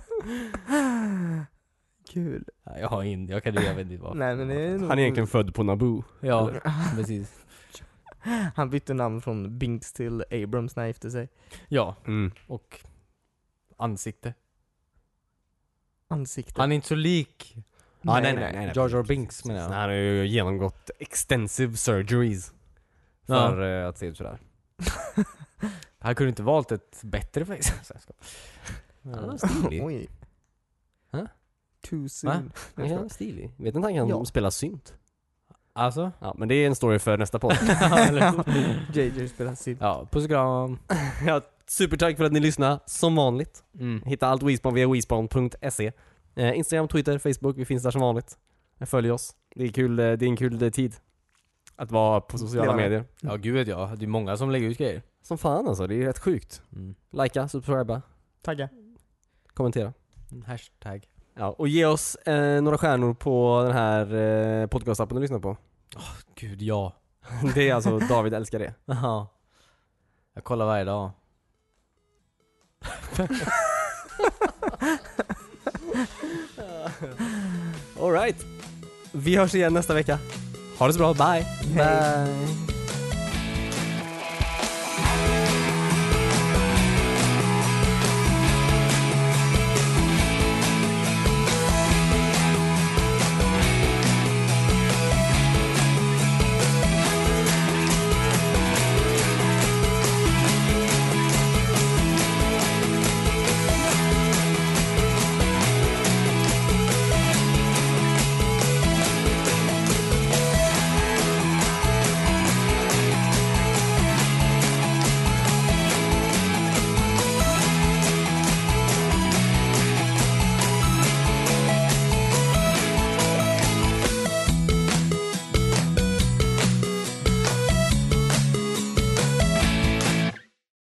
S1: Kul.
S2: Jag har in, jag kan jag vet inte vad.
S1: Nej men det är nog...
S3: Han är egentligen född på Naboo.
S2: Ja, precis.
S1: Han bytte namn från Binks till Abrams när han gifte sig.
S2: Ja,
S3: Mm.
S2: och ansikte.
S1: Ansikte.
S2: Han är inte så lik
S3: Ja,
S1: Nej,
S3: nej, nej, nej, nej.
S2: Jar Jar Binks menar
S3: Han
S2: jag.
S3: har ju genomgått extensive surgeries. För eh, att se ut sådär.
S2: Han kunde inte valt ett bättre face. Så jag ska- Han var stilig.
S1: Oj.
S2: Hä?
S1: Too
S2: Va?
S1: soon. Jag skojar.
S3: stilig. Vet inte han
S1: Ja.
S3: kan spela synt?
S2: Alltså?
S3: Ja, men det är en story för nästa podd.
S1: JJ spelar sin.
S2: Ja, puss och kram.
S3: ja, supertack för att ni lyssnade, som vanligt.
S2: Mm.
S3: Hitta allt WeSpawn via WeSpawn.se eh, Instagram, Twitter, Facebook, vi finns där som vanligt. Eh, Följ oss. Det är, kul, eh, det är en kul eh, tid att vara på sociala
S1: Leva.
S3: medier.
S2: Ja, gud vet jag. Det är många som lägger ut grejer.
S3: Som fan alltså, det är rätt sjukt.
S2: Mm.
S3: Lajka, subscriba,
S1: Tagga.
S3: kommentera.
S2: Hashtag.
S3: Ja, och ge oss eh, några stjärnor på den här eh, podcastappen du lyssnar på.
S2: Gud, ja.
S3: Det är alltså, David älskar det.
S2: Ja. Jag kollar varje dag.
S3: Alright. Vi hörs igen nästa vecka. Ha det så bra, bye!
S1: Bye.